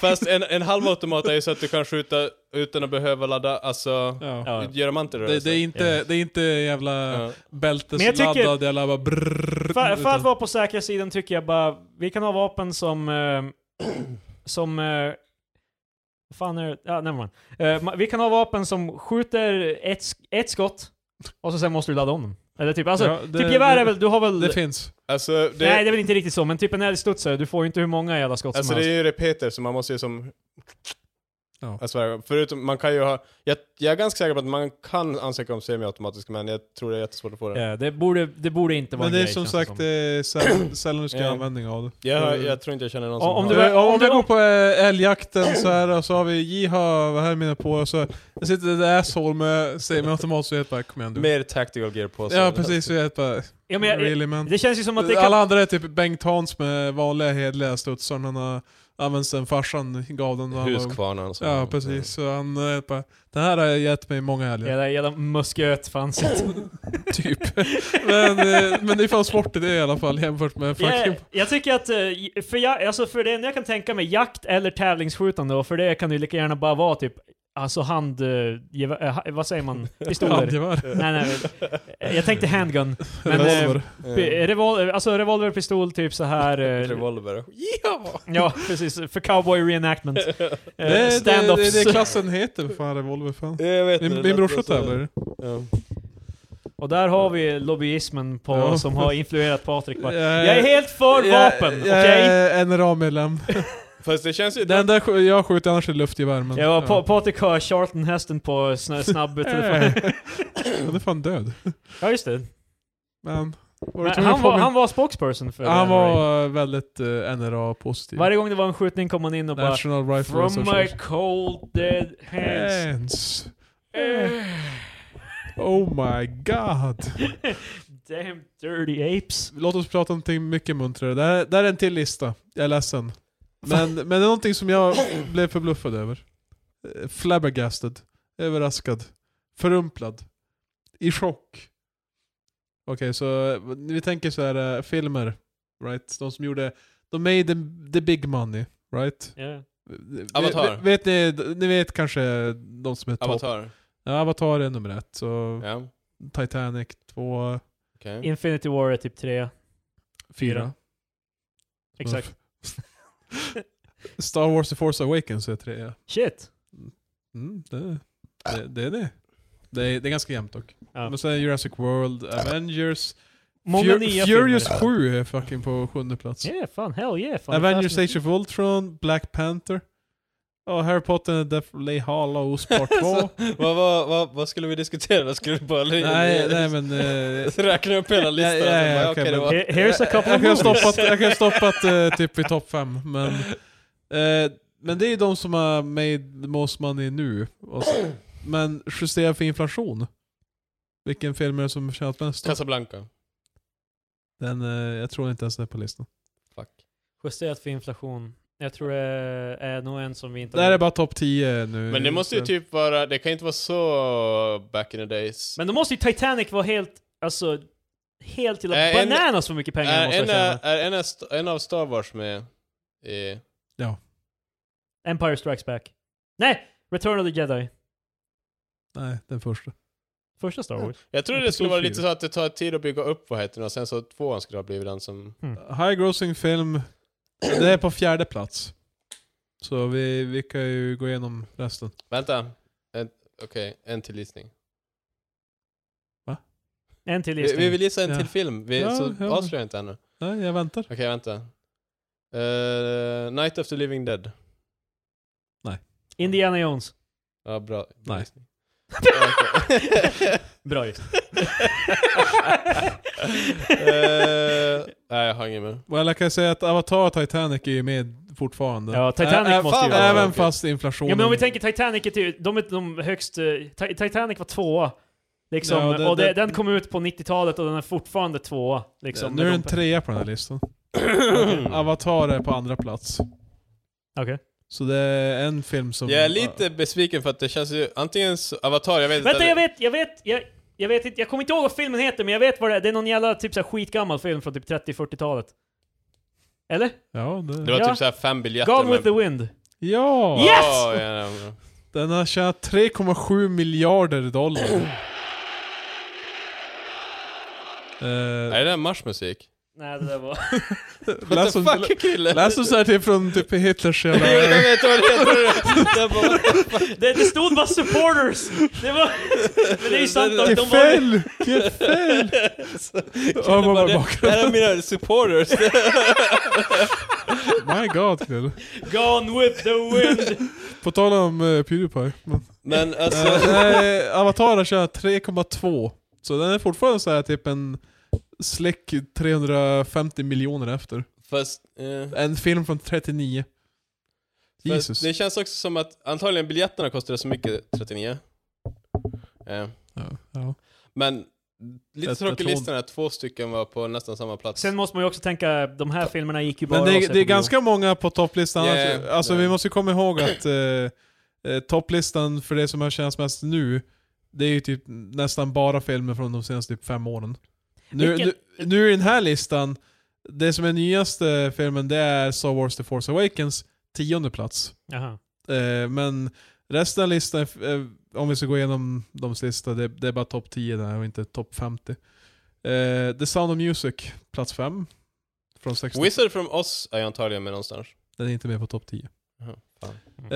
Fast en, en halvautomat är ju så att du kan skjuta utan att behöva ladda, alltså...
Ja.
Ja.
Göra
Det, det, är
mantelrörelser.
inte, det är inte jävla
Ja.
Men jag
bältesladdad
tycker-
jävla bara brrrr,
för, för att
Mm, utan-
vara på säkra sidan tycker jag bara, vi kan ha vapen som... Eh, som... Eh, vad fan är det? Ja, nevermind. Eh, ma- vi kan ha vapen som skjuter ett, sk- ett skott, och så sen måste du ladda om dem. Eller typ, alltså,
Ja, det-
typ gevär
det-
är väl, du har väl...
Det finns.
Alltså, det,
Nej det är väl inte riktigt så, men typ en älgstudsare, du får ju inte hur många jävla skott
alltså
som
det
helst.
är ju repeter, så man måste ju som...
Ja.
Alltså, varje gång. förutom, man kan ju ha... Jag, jag är ganska säker på att man kan ansöka om semiautomatisk, men jag tror det är jättesvårt att få det.
Ja, det, borde, det borde inte vara
Men
en
det är
grej,
som
känns
sagt
som.
det är sällan, sällan du ska
Ja.
användning av det.
Jag,
Eh,
jag tror inte jag känner någon
Mm. Om-
som
om
har
du
det.
Eh, om,
om
om
du-
jag går på eh, älgjakten så här så har vi Jiha, vad här är mina på och så jag sitter det där asshole med semiautomat så jag helt bara kom igen du.
Mer tactical gear på sig.
Ja precis, så jag helt bara
Ja, men jag,
really man.
det känns ju som att det kan...
Alla andra är typ Bengt Hans med vanliga hederliga studsar, han har använt sen farsan gav den. när han var ung.
Huskvarnan. som-
Ja precis, så han eh, bara, den här har gett mig många älgar.
Jävla, jävla musköt fanns inte.
Typ. men, eh, men det är fan sport i det i alla fall jämfört med fucking...
jag, jag tycker att, eh, för, jag, alltså för det enda jag kan tänka mig, jakt eller tävlingsskjutande, och för det kan det ju lika gärna bara vara typ, alltså hand... eh, gevä- eh, ha- vad säger man? Pistoler?
Handgevär.
nej, nej. eh, Jag tänkte handgun. Men, eh,
Revolver.
Eh,
P- Revol alltså revolver, pistol, typ så här. eh,
Revolver.
ja, precis. För cowboy reenactment. Eh,
Det är det, det, det
Stand-ups.
är klassen heter för fan, revolver fan.
Jag vet
Min,
inte,
min
det
brorsa
alltså,
lät så-
tävlar
Ja.
Och där har vi lobbyismen på,
Ja.
som har influerat Patrik. bara,
Eh,
Jag är helt för vapen,
jag
okej? Alltså,
är NRA-medlem.
Fast det känns ju...
Det enda sk- jag skjuter annars är luftgevär men...
Ja, pa Patrik har Charlton hästen på snö- snabb
Eh,
telefon.
Han är fan död.
Ja, just det.
Men... Var du
Men
tvungen att
han,
få
var,
min-
han var spokesperson för
han
NRA.
var eh, väldigt eh, NRA-positiv.
Varje gång det var en skjutning kom han in och bara
National Rifle
From my
Association.
cold dead hands.
Hands.
Eh,
Oh my god.
Damn dirty apes.
Låt oss prata om någonting mycket muntrare. Det här, det här är en till lista. Jag är ledsen. Men, men det är någonting som jag blev förbluffad över. Eh, Flabbergasted. Överraskad. Förumplad. I chock. Okej, så eh, vi tänker så här eh, filmer. Right? De som gjorde... De made the, the big money. Right?
Ja.
Avatar.
Vet, vet ni, ni vet kanske de som är top.
Avatar.
Ja, Avatar är nummer ett. Så
Ja.
Titanic två,
Okej.
Infinity War är typ tre.
fyra.
Exakt.
Star Wars The Force Awakens är trea.
Shit.
Mm, det, det, det är det. Det är, det är ganska jämnt dock.
Ja.
Men sen är Jurassic World, Avengers,
Många
Fur-
nya
Furious
filmer.
7 är fucking på sjunde plats.
Yeah, fan. Hell yeah. Fan,
Avengers
Fast-
Age of Ultron, Black Panther, och Harry Potter and the Deathly Hallows Part 2.
vad, vad, vad, vad skulle vi diskutera? Vad skulle vi bara...
nej, nej men... eh,
Räkna upp hela listan.
Ja, ja, ja,
och
okej,
bara, okej, det
men-
var...
Here- Here's a couple
jag
of
kan ha
movies.
stoppat, jag kan ha stoppat eh, typ i topp 5, men... Eh, men det är ju de som har made the most money nu. Och så, men justerat för inflation. Vilken film är det som tjänat mest? då?
Casablanca.
Den, eh, jag tror inte ens den är på listan.
Fuck.
Justerat för inflation. Jag tror det är nog en som vi inte...
Det här är bara topp 10 nu.
Men det måste ju
Så-
typ vara... Det kan ju inte vara så back in the days.
Men då måste ju Titanic vara helt, alltså, helt till
Eh,
Äh, en-
bananas för mycket pengar
är,
måste jag
en,
tjäna.
är, är en, av St- en av Star Wars med i...
Empire Strikes Back. Nej! Return of the Jedi.
Nej, den första.
Första Star Wars.
Jag trodde det
Episod
skulle vara lite
fyra.
så att det tar tid att bygga upp vad heter den och sen så tvåan skulle ha blivit den som...
High grossing film. Det är på fjärde plats. Så vi, vi kan ju gå igenom resten.
Vänta. En- Okej, en till gissning.
En till
Vi,
listning.
vi vill gissa en
Ja.
till film, vi,
Ja,
så
ja.
avslöjar jag inte ännu. Okej,
Nej, jag väntar.
vänta. Eh, Night of the Living Dead.
Indiana Jones.
Ja, bra.
Nej.
gissning. Okej.
Bra just.
Eh, nej, jag har ingen mer.
Well, jag kan säga att Avatar och Titanic är ju med fortfarande.
Ja, Titanic
Ä- ä-
måste ju
fan,
vara
Även
tråkigt.
fast inflationen...
Ja men om vi tänker Titanic är typ, de är de högst, eh, Ti- Titanic var tvåa. Liksom,
Ja, det-
och det,
det-
den kom ut på 90-talet och den är fortfarande tvåa. Liksom,
nu är
med
den
de-
trea på den här listan. Avatar är på andra plats.
Okej.
Så det är en film som...
Jag är lite besviken för att det känns ju, antingen så, Avatar, jag vet
Vänta,
inte.
jag vet, jag vet, jag, jag vet inte, jag kommer inte ihåg vad filmen heter, men jag vet vad det är. Det är någon jävla typ så här skitgammal film från typ 30-40-talet. Eller?
Ja, det...
Det var
Ja.
typ såhär fem biljetter.
Gone
men-
with the Wind.
ja!
Yes!
Ja, ja, ja.
Den har tjänat 3,7 miljarder dollar. Eh,
Är det där marschmusik?
Nej, det där var...
What
Läs
the
om-
fuck kille?
Läs oss här till från typ Hitlers jävla...
Jag vet vad det heter! Jag bara,
Det, det stod bara supporters! Det var... Men det är ju sant att de var...
Gefäll! Gefäll!
Jag
Ja, man
bara,
bara
det, det här är mina supporters.
My God kille.
Gone with the wind!
På tal om eh, Pewdiepie. Men,
Men alltså,
eh, nej, Avatar har kört 3,2. Så den är fortfarande så här typ en släck 350 miljoner efter.
fast... Eh,
En film från 39. Jesus.
För Det känns också som att antagligen biljetterna kostade så mycket, 39. Eh,
Ja, ja.
men lite
Jag- jag
tråkig
tror-
listan är att två stycken var på nästan samma plats.
Sen måste man ju också tänka, de här filmerna gick ju bara
Men
att se
det,
på
det är
bio.
ganska många på topplistan.
Yeah,
Alltså, alltså
yeah.
vi måste komma ihåg att eh, eh, topplistan för det som har känts mest nu, det är ju typ nästan bara filmer från de senaste typ fem åren. Nu,
Vilken-
nu, nu i den här listan, det som är nyaste filmen det är Star Wars The Force Awakens tionde plats.
Jaha.
Eh, men resten av listan, är f- eh, om vi ska gå igenom de sista, det, det är bara topp 10 där och inte topp 50. Eh, The Sound of Music, plats 5. Från 16.
Wizard from Oz är jag antagligen med någonstans.
Den är inte med på topp 10.
Jaha, fan.
Mm.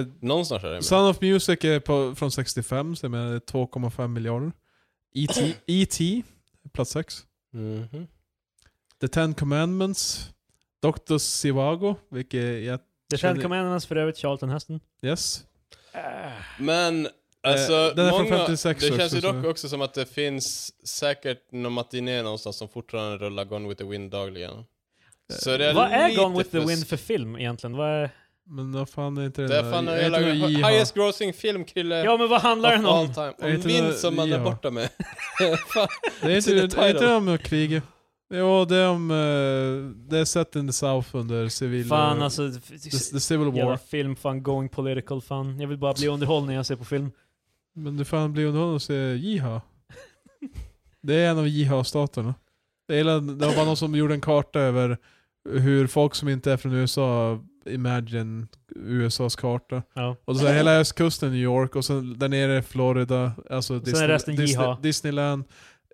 Eh,
Någonstans är det med.
Sound of Music är på, från 65, så jag menar det är 2,5 miljarder. E E.T. E.T. plats 6.
Mhm.
The Ten Commandments. Dr. Sivago, vilket jag...
The Ten Commandments för övrigt, Charlton Heston.
Yes.
Men alltså,
den är från
många,
56
det känns
också,
ju dock
så-
också som att det finns säkert någon matiné någonstans som fortfarande rullar Gone with the Wind dagligen. Så det är
Vad är
lite
Gone with the
fusk.
wind för film egentligen? Vad är...
Men vad fan är inte det
Det är fan en
Jag tror
jävla
IHA.
highest grossing film, Krille.
Ja men vad handlar den
Of all
om?
time.
Jag
Om
vet inte
vind som man är
ja.
borta med.
Det är inte,
It's in the
det är inte
title.
om kriget. Jo, det är om... eh, det är set in the South under civil...
Fan
eh,
alltså, f-
the, the Civil War.
jävla film fan going political fan. Jag vill bara bli underhållen när jag ser på film.
Men du fan blir underhållen att se Jiha. Det är en av Jiha-staterna. Det, är hela- det var bara någon som gjorde en karta över hur folk som inte är från USA Imagine USAs karta.
Ja.
Och så här, hela östkusten New York och sen där nere är Florida, alltså Disney,
resten Jiha.
Disney, Disneyland.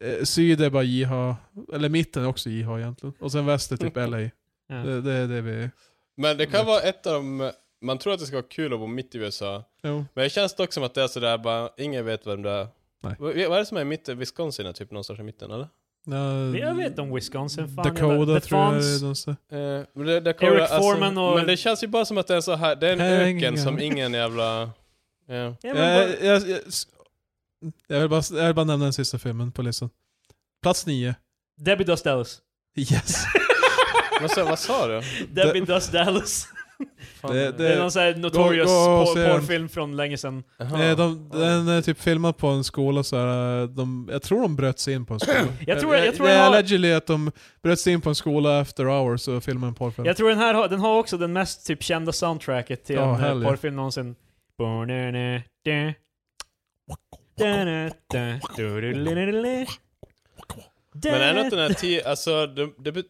Eh, syd är bara Jiha, eller mitten är också Jiha egentligen. Och sen väst är typ LA.
Ja.
Det, det är det vi...
Men det kan vara ett av de... Man tror att det ska vara kul att bo mitt i USA.
Jo.
Men det känns dock som att det är sådär bara, ingen vet vem det är.
Nej.
Vad vad är det som är i mitten? Wisconsin är typ någonstans i mitten eller?
Men Jag vet om Wisconsin fan.
Dakota
jävla- The
tror jag det är
Fawns.
någonstans.
Eh, men det, det
Eric Foreman och-
Men det känns ju bara som att det är så här. det är en
Hang
öken
on.
som ingen jävla... Ja.
Ja, men bara-
Jag, Eh, jag, jag, jag, vill bara, jag vill bara nämna den sista filmen på listan. Plats nio.
Debbie Does Dallas.
Yes.
Vad, sa, vad sa du?
Debbie Does Dallas.
Fan.
Det-
Det är någon sån här notorious
gå och
por-
se den.
porrfilm från länge sedan.
Jaha.
Eh, de, den är typ filmad på en skola så här, eh, de, Jag tror de bröt sig in på en skola. Eh,
Jag tror- jag tror
det
jag
är
har-
allegedly att de bröt sig in på en skola after hours och filmade en porrfilm.
Jag tror den här har, den har också den mest typ kända soundtracket till
Ja,
en eh,
hell ja.
porrfilm någonsin. Ba-na-na, da. Da-na, da. Du-du-du-du-du-du.
Men är det inte den här tio, alltså det, det, bet-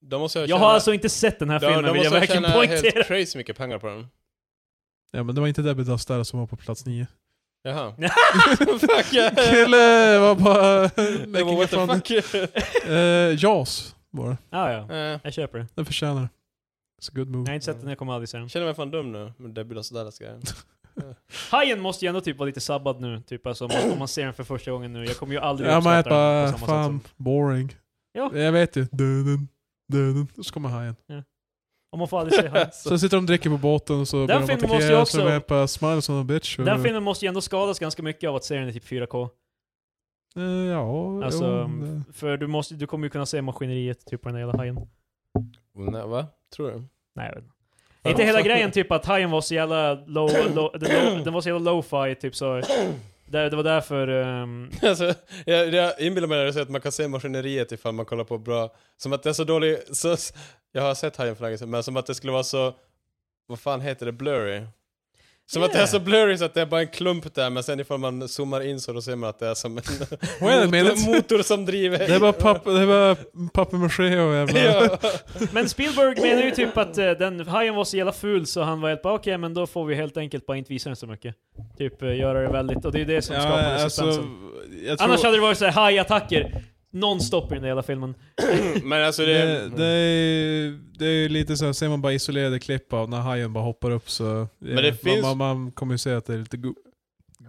de måste
Jag har alltså inte sett den här
de,
filmen
de
vill jag
måste ha
verkligen
tjänat
poängtera.
helt crazy mycket pengar på den.
Ja men det var inte Debbie Does Dallas som var på plats nio.
Jaha. fuck yeah!
Kille var bara...
Det var what the fuck?
Eh, Jaws var det.
Ah, ja,
Eh,
jag köper det.
Den förtjänar det. It's a good
Jag har
movie.
inte sett den, jag kommer aldrig se den.
Jag känner mig fan dum nu med Debbie Does Dallas grejen.
Hajen måste ju ändå typ vara lite sabbad nu, typ alltså, om, man, om man ser den för första gången nu. Jag kommer ju aldrig
Ja man är
uppskatta den
bara,
på samma sätt
fan,
som...
boring.
Ja.
Jag vet ju. Dun, dun, dun. Så kommer hajen.
Om man får aldrig se hajen.
Så sitter de och dricker på båten och så börjar de
filmen måste jag
attackera så
också-
de är på smiles on a bitch. och-
Den filmen måste ju ändå skadas ganska mycket av att se den i typ 4K.
Eh, ja,
Alltså,
jo, det-
För du, måste, du kommer ju kunna se maskineriet typ på den där hela hajen.
Oh, nej, va? Tror du?
Nej, jag vet inte. Är inte hela grejen typ att hajen var så jävla low, low, den, low den var så jävla low-fi typ så. Det, det var därför... ehm,
Alltså, jag, jag inbillar mig när jag säger att man kan se maskineriet ifall man kollar på bra... Som att det är så dålig... Så, jag har sett Hajen för länge sedan, men som att det skulle vara så... Vad fan heter det? Blurry? Som att det är så blurry så att det är bara en klump där, men sen ifall man zoomar in så då ser man att det är som en
Wait a
motor,
minute.
motor som driver.
Det är bara papp- det är bara papier-maché och jävla...
Ja.
Men Spielberg menar ju typ att eh, den hajen var så jävla ful så han var helt bara okej men då får vi helt enkelt bara inte visa den så mycket. Typ eh, göra det väldigt, och det är det som
Ja,
skapar
alltså,
resistensen.
jag tror,
Annars hade det varit såhär hajattacker. nonstop i den där jävla filmen.
Men alltså det...
Det, det, är, det är lite så här, ser man bara isolerade klipp av när hajen bara hoppar upp så... Men
det
man,
finns-
man, man kommer ju säga att det är lite go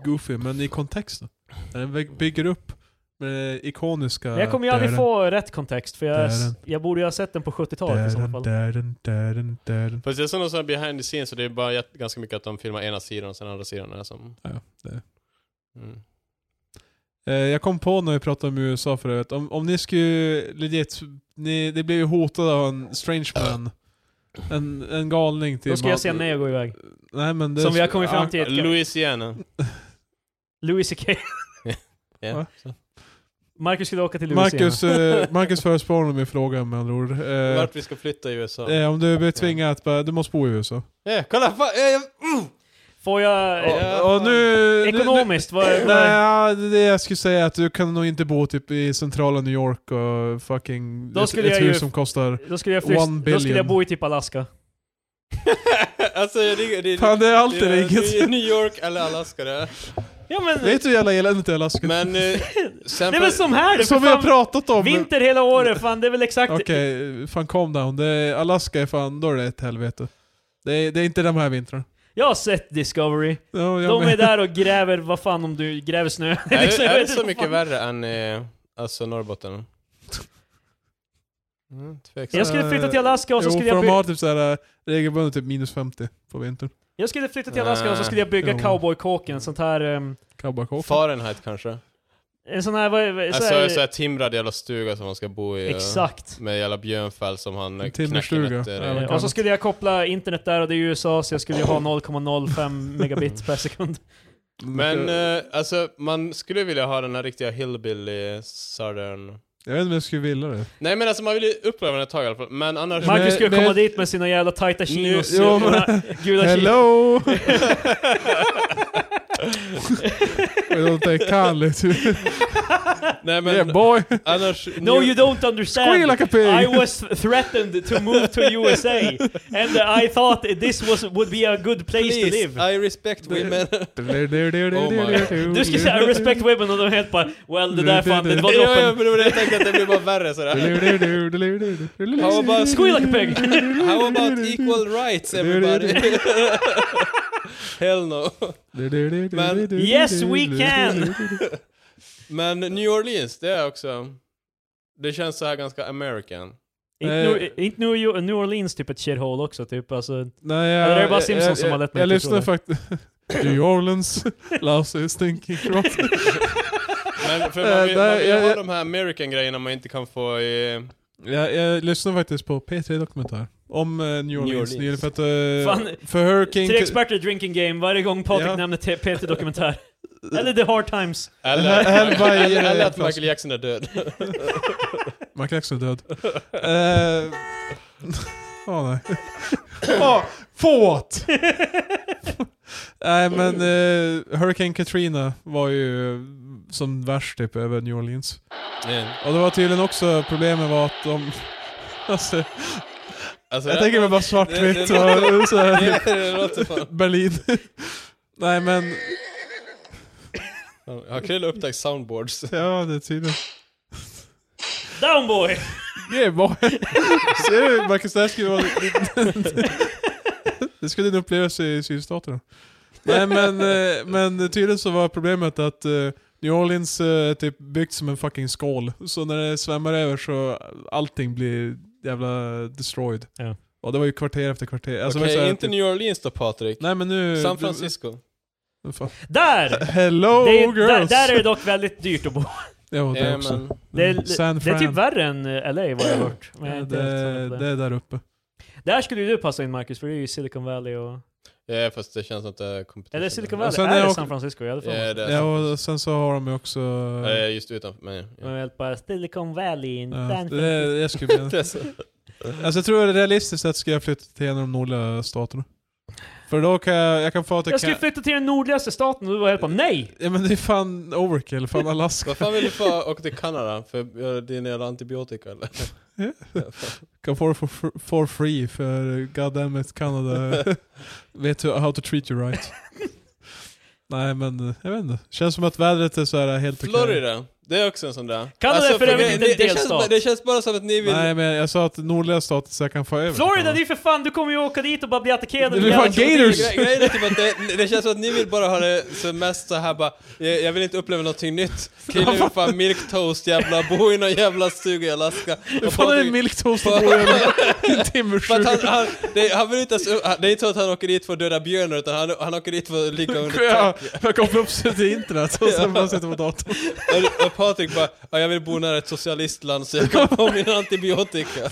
goofy, men i kontext då? När Den väg- bygger upp med det ikoniska...
Men jag kommer ju aldrig få rätt kontext, för
Där är
jag,
den.
jag borde ju ha sett den på 70-talet i så fall.
fall.
Fast jag såg någon sån här behind the scenes så det är bara jätt- ganska mycket att de filmar ena sidan och sen andra sidan är som...
Ja, det är.
Mm.
Eh, Jag kom på när vi pratade om USA för övrigt, om, om ni skulle legit, ni, det blev ju hotade av en strange man. En, en galning till
Då ska jag
man-
säga nej och gå iväg.
Nej, men det
Som vi har kommit fram
ja,
till i ett kap-
Louisiana.
Louis CK.
Ja.
Va?
Marcus skulle åka till Louisiana.
Marcus, eh, Marcus förespråkade min fråga med andra ord. Eh,
Vart vi ska flytta i USA.
eh, om du blir tvingad att bara, du måste bo i USA.
Eh, kolla! Fa- eh, jag-
Får jag... eh,
Ja.
Och, och nu...
Ekonomiskt? Vad,
Nu,
vad,
nej, ja, det jag skulle säga är att du kan nog inte bo typ i centrala New York och fucking...
Då
ett
skulle
ett
jag
hus
ju-
som kostar...
Då skulle jag
One
flytta, då skulle jag
billion.
bo i typ Alaska.
alltså det, det, det,
Fan, det är alltid
det-
inget.
det är New York eller Alaska det.
Ja men...
Vet du hur jävla eländigt det är i Alaska?
Men... Eh, sen
det är väl som här! Det, är
Som
för
vi har
fan,
pratat om.
vinter hela året, fan det är väl exakt...
Okej, fan calm down. Det är, Alaska är fan, då är det ett helvete. Det är, det är inte de här vintrarna.
Jag har sett Discovery.
Ja, jag
De
med.
är där och gräver, vad fan om du gräver snö.
är, det-
Liksom, jag
är det
vet
så
inte
mycket
fan.
värre än eh, alltså Norrbotten? Mm,
Jag
tveksamt.
skulle flytta till Alaska och så
jo,
skulle
för
jag,
de har
by-
typ såhär regelbundet typ minus 50 på vintern.
jag skulle flytta till Alaska och så skulle jag bygga
Jo.
cowboykåken, sånt här... ehm,
Cowboykåken.
Fahrenheit kanske?
en sån här... Vad, vad- så
Alltså
här,
en sån här timrad jävla stuga som man ska bo i. eh,
exakt.
Med jävla björnfäll som han eh,
En
knackar
timmerstuga. Ja,
nötter i.
men-
Eh, Och så skulle jag koppla internet där och det är USA så jag skulle ju ha 0,05 megabit per sekund.
Men eh, alltså man skulle vilja ha den här riktiga hillbilly southern...
Jag vet inte om jag skulle vilja det.
Nej men alltså man vill ju uppleva den ett tag i alla fall. Men annars...
Man-
Marcus skulle
men-
komma dit med sina jävla tajta chinos.
Jo, men-
sina Gula chinos.
Hello! Jag låter kallt.
Nej men
Yeah boy!
annars...
No you don't understand.
Squeal like a pig!
I was threatened to move to USA and I thought this was, would be a good place to live.
Please, I respect women.
Du skulle säga I respect women och de helt bara well det där fan det var
ja, ja,
droppen.
men det var det jag tänkte att det blir bara värre sådär. How about,
Squeal like a pig!
how about equal rights everybody? Hell no. Men-
Yes, we can.
Men New Orleans, det är också... Det känns så här ganska American.
Inte New- Inte New, New Orleans typ ett shithole också typ alltså.
Nej,
Eller
jag,
är det bara Simpsons
jag,
som har lett mig
Jag, jag
till att tro
lyssnar faktiskt... New Orleans, Lousy Stinking Rock.
Men för
Eh,
Äh,
man vill,
där-
man vill
jag-
ha
jag-
de här American grejerna man inte kan få i...
Jag, jag lyssnar faktiskt på P3 Dokumentär. Om eh, New Orleans
Orleans.
nyligen för att... eh,
Fan,
för Hurricane...
Tre experter drinking game varje gång Patrik
Ja.
nämner T- PT Dokumentär. Eller The Hard Times.
Eller,
Hellby, eh,
eller, eller att
flask.
Michael Jackson är död.
Michael Jackson är död. Eh, Åh nej. Ah, Åh, fåt! nej men eh, Hurricane Katrina var ju eh, som värst typ över New Orleans.
Mm.
Och det var tydligen också problemet var att de... Alltså,
Alltså,
jag
det-
tänker mig bara svartvitt och så här, typ
det, det låter fan...
Berlin. nej men,
Har Krill upptäckt soundboards?
ja det är tydligt.
Downboy!
Yeah boy! Ser du? Marcus, det här skulle vara... det skulle din upplevelse i sydstaterna. Nej men, eh, men tydligen så var problemet att eh, New Orleans eh, typ byggt som en fucking skål. Så när det svämmar över så allting blir jävla destroyed.
Ja.
Och det var ju kvarter efter kvarter. Alltså, det var
Okej,
så här
inte
typ-
New Orleans då Patrik.
Nej men nu...
San Francisco.
Fan.
Där!
Hello
det, är- där,
Oh, girls!
där är det dock väldigt dyrt att bo.
Ja, det
Ja,
också.
Eh, men-
Det är,
Mm. San
det är typ
Fran.
värre än eh, LA vad jag har hört. Men jag är
Ja,
inte
det,
helt säker på
det
det.
är där uppe.
Där skulle ju du passa in Marcus, för det är ju Silicon Valley och...
Ja, fast det känns inte kompetition.
Eller Silicon
Och
Valley,
sen
är
är
det
jag-
San Francisco? Jag hade för mig.
Ja, det är
Ja,
sant.
och sen så har de ju också...
Ja, jag är just utanför mig.
Men helt bara Silicon Valley in
Ja,
San
det,
Francisco.
det skulle bli... Alltså jag tror det är realistiskt att ska jag flytta till en av de nordliga staterna. För då kan jag, jag kan få att jag,
Jag skulle
kan...
flytta till den nordligaste staten och du var helt bara nej!
Ja men det är fan overkill, fan Alaska.
Vad fan vill du få åka till Kanada? För att göra din jävla antibiotika eller?
kan få det for, for- for free för goddammit Kanada vet hur, how to treat you right. Nej men, jag vet inte. Känns som att vädret är så här helt okej.
Florida! Det är också en sån där. Alltså,
Kanada är för övrigt inte en
det, det, känns,
delstat.
bara- det känns bara som att ni vill...
Nej men jag sa att nordliga stater så jag kan få över.
Florida, det är för fan, du kommer ju åka dit och bara bli attackerad.
Det
av
blir
jävla
fan gators.
krokodil.
Gre- Grejen är typ att det, det känns som att ni vill bara ha det som mest så här bara, jag, jag vill inte uppleva någonting nytt. Killen vill fan milk toast jävla, bo i någon jävla stuga i Alaska.
Hur
Och
fan är det en
folk-
milktoast att bo i en- en
för att han,
timmersjuka?
han, det, han vill inte ens, det är inte så att han åker dit för att döda björnar utan han, han åker dit för att ligga under
Ja,
tak.
Jag kopplar upp sig till internet och sen bara sitter på datorn.
Och, och Patrik bara, ja, jag vill bo nära ett socialistland så jag kan få min antibiotika.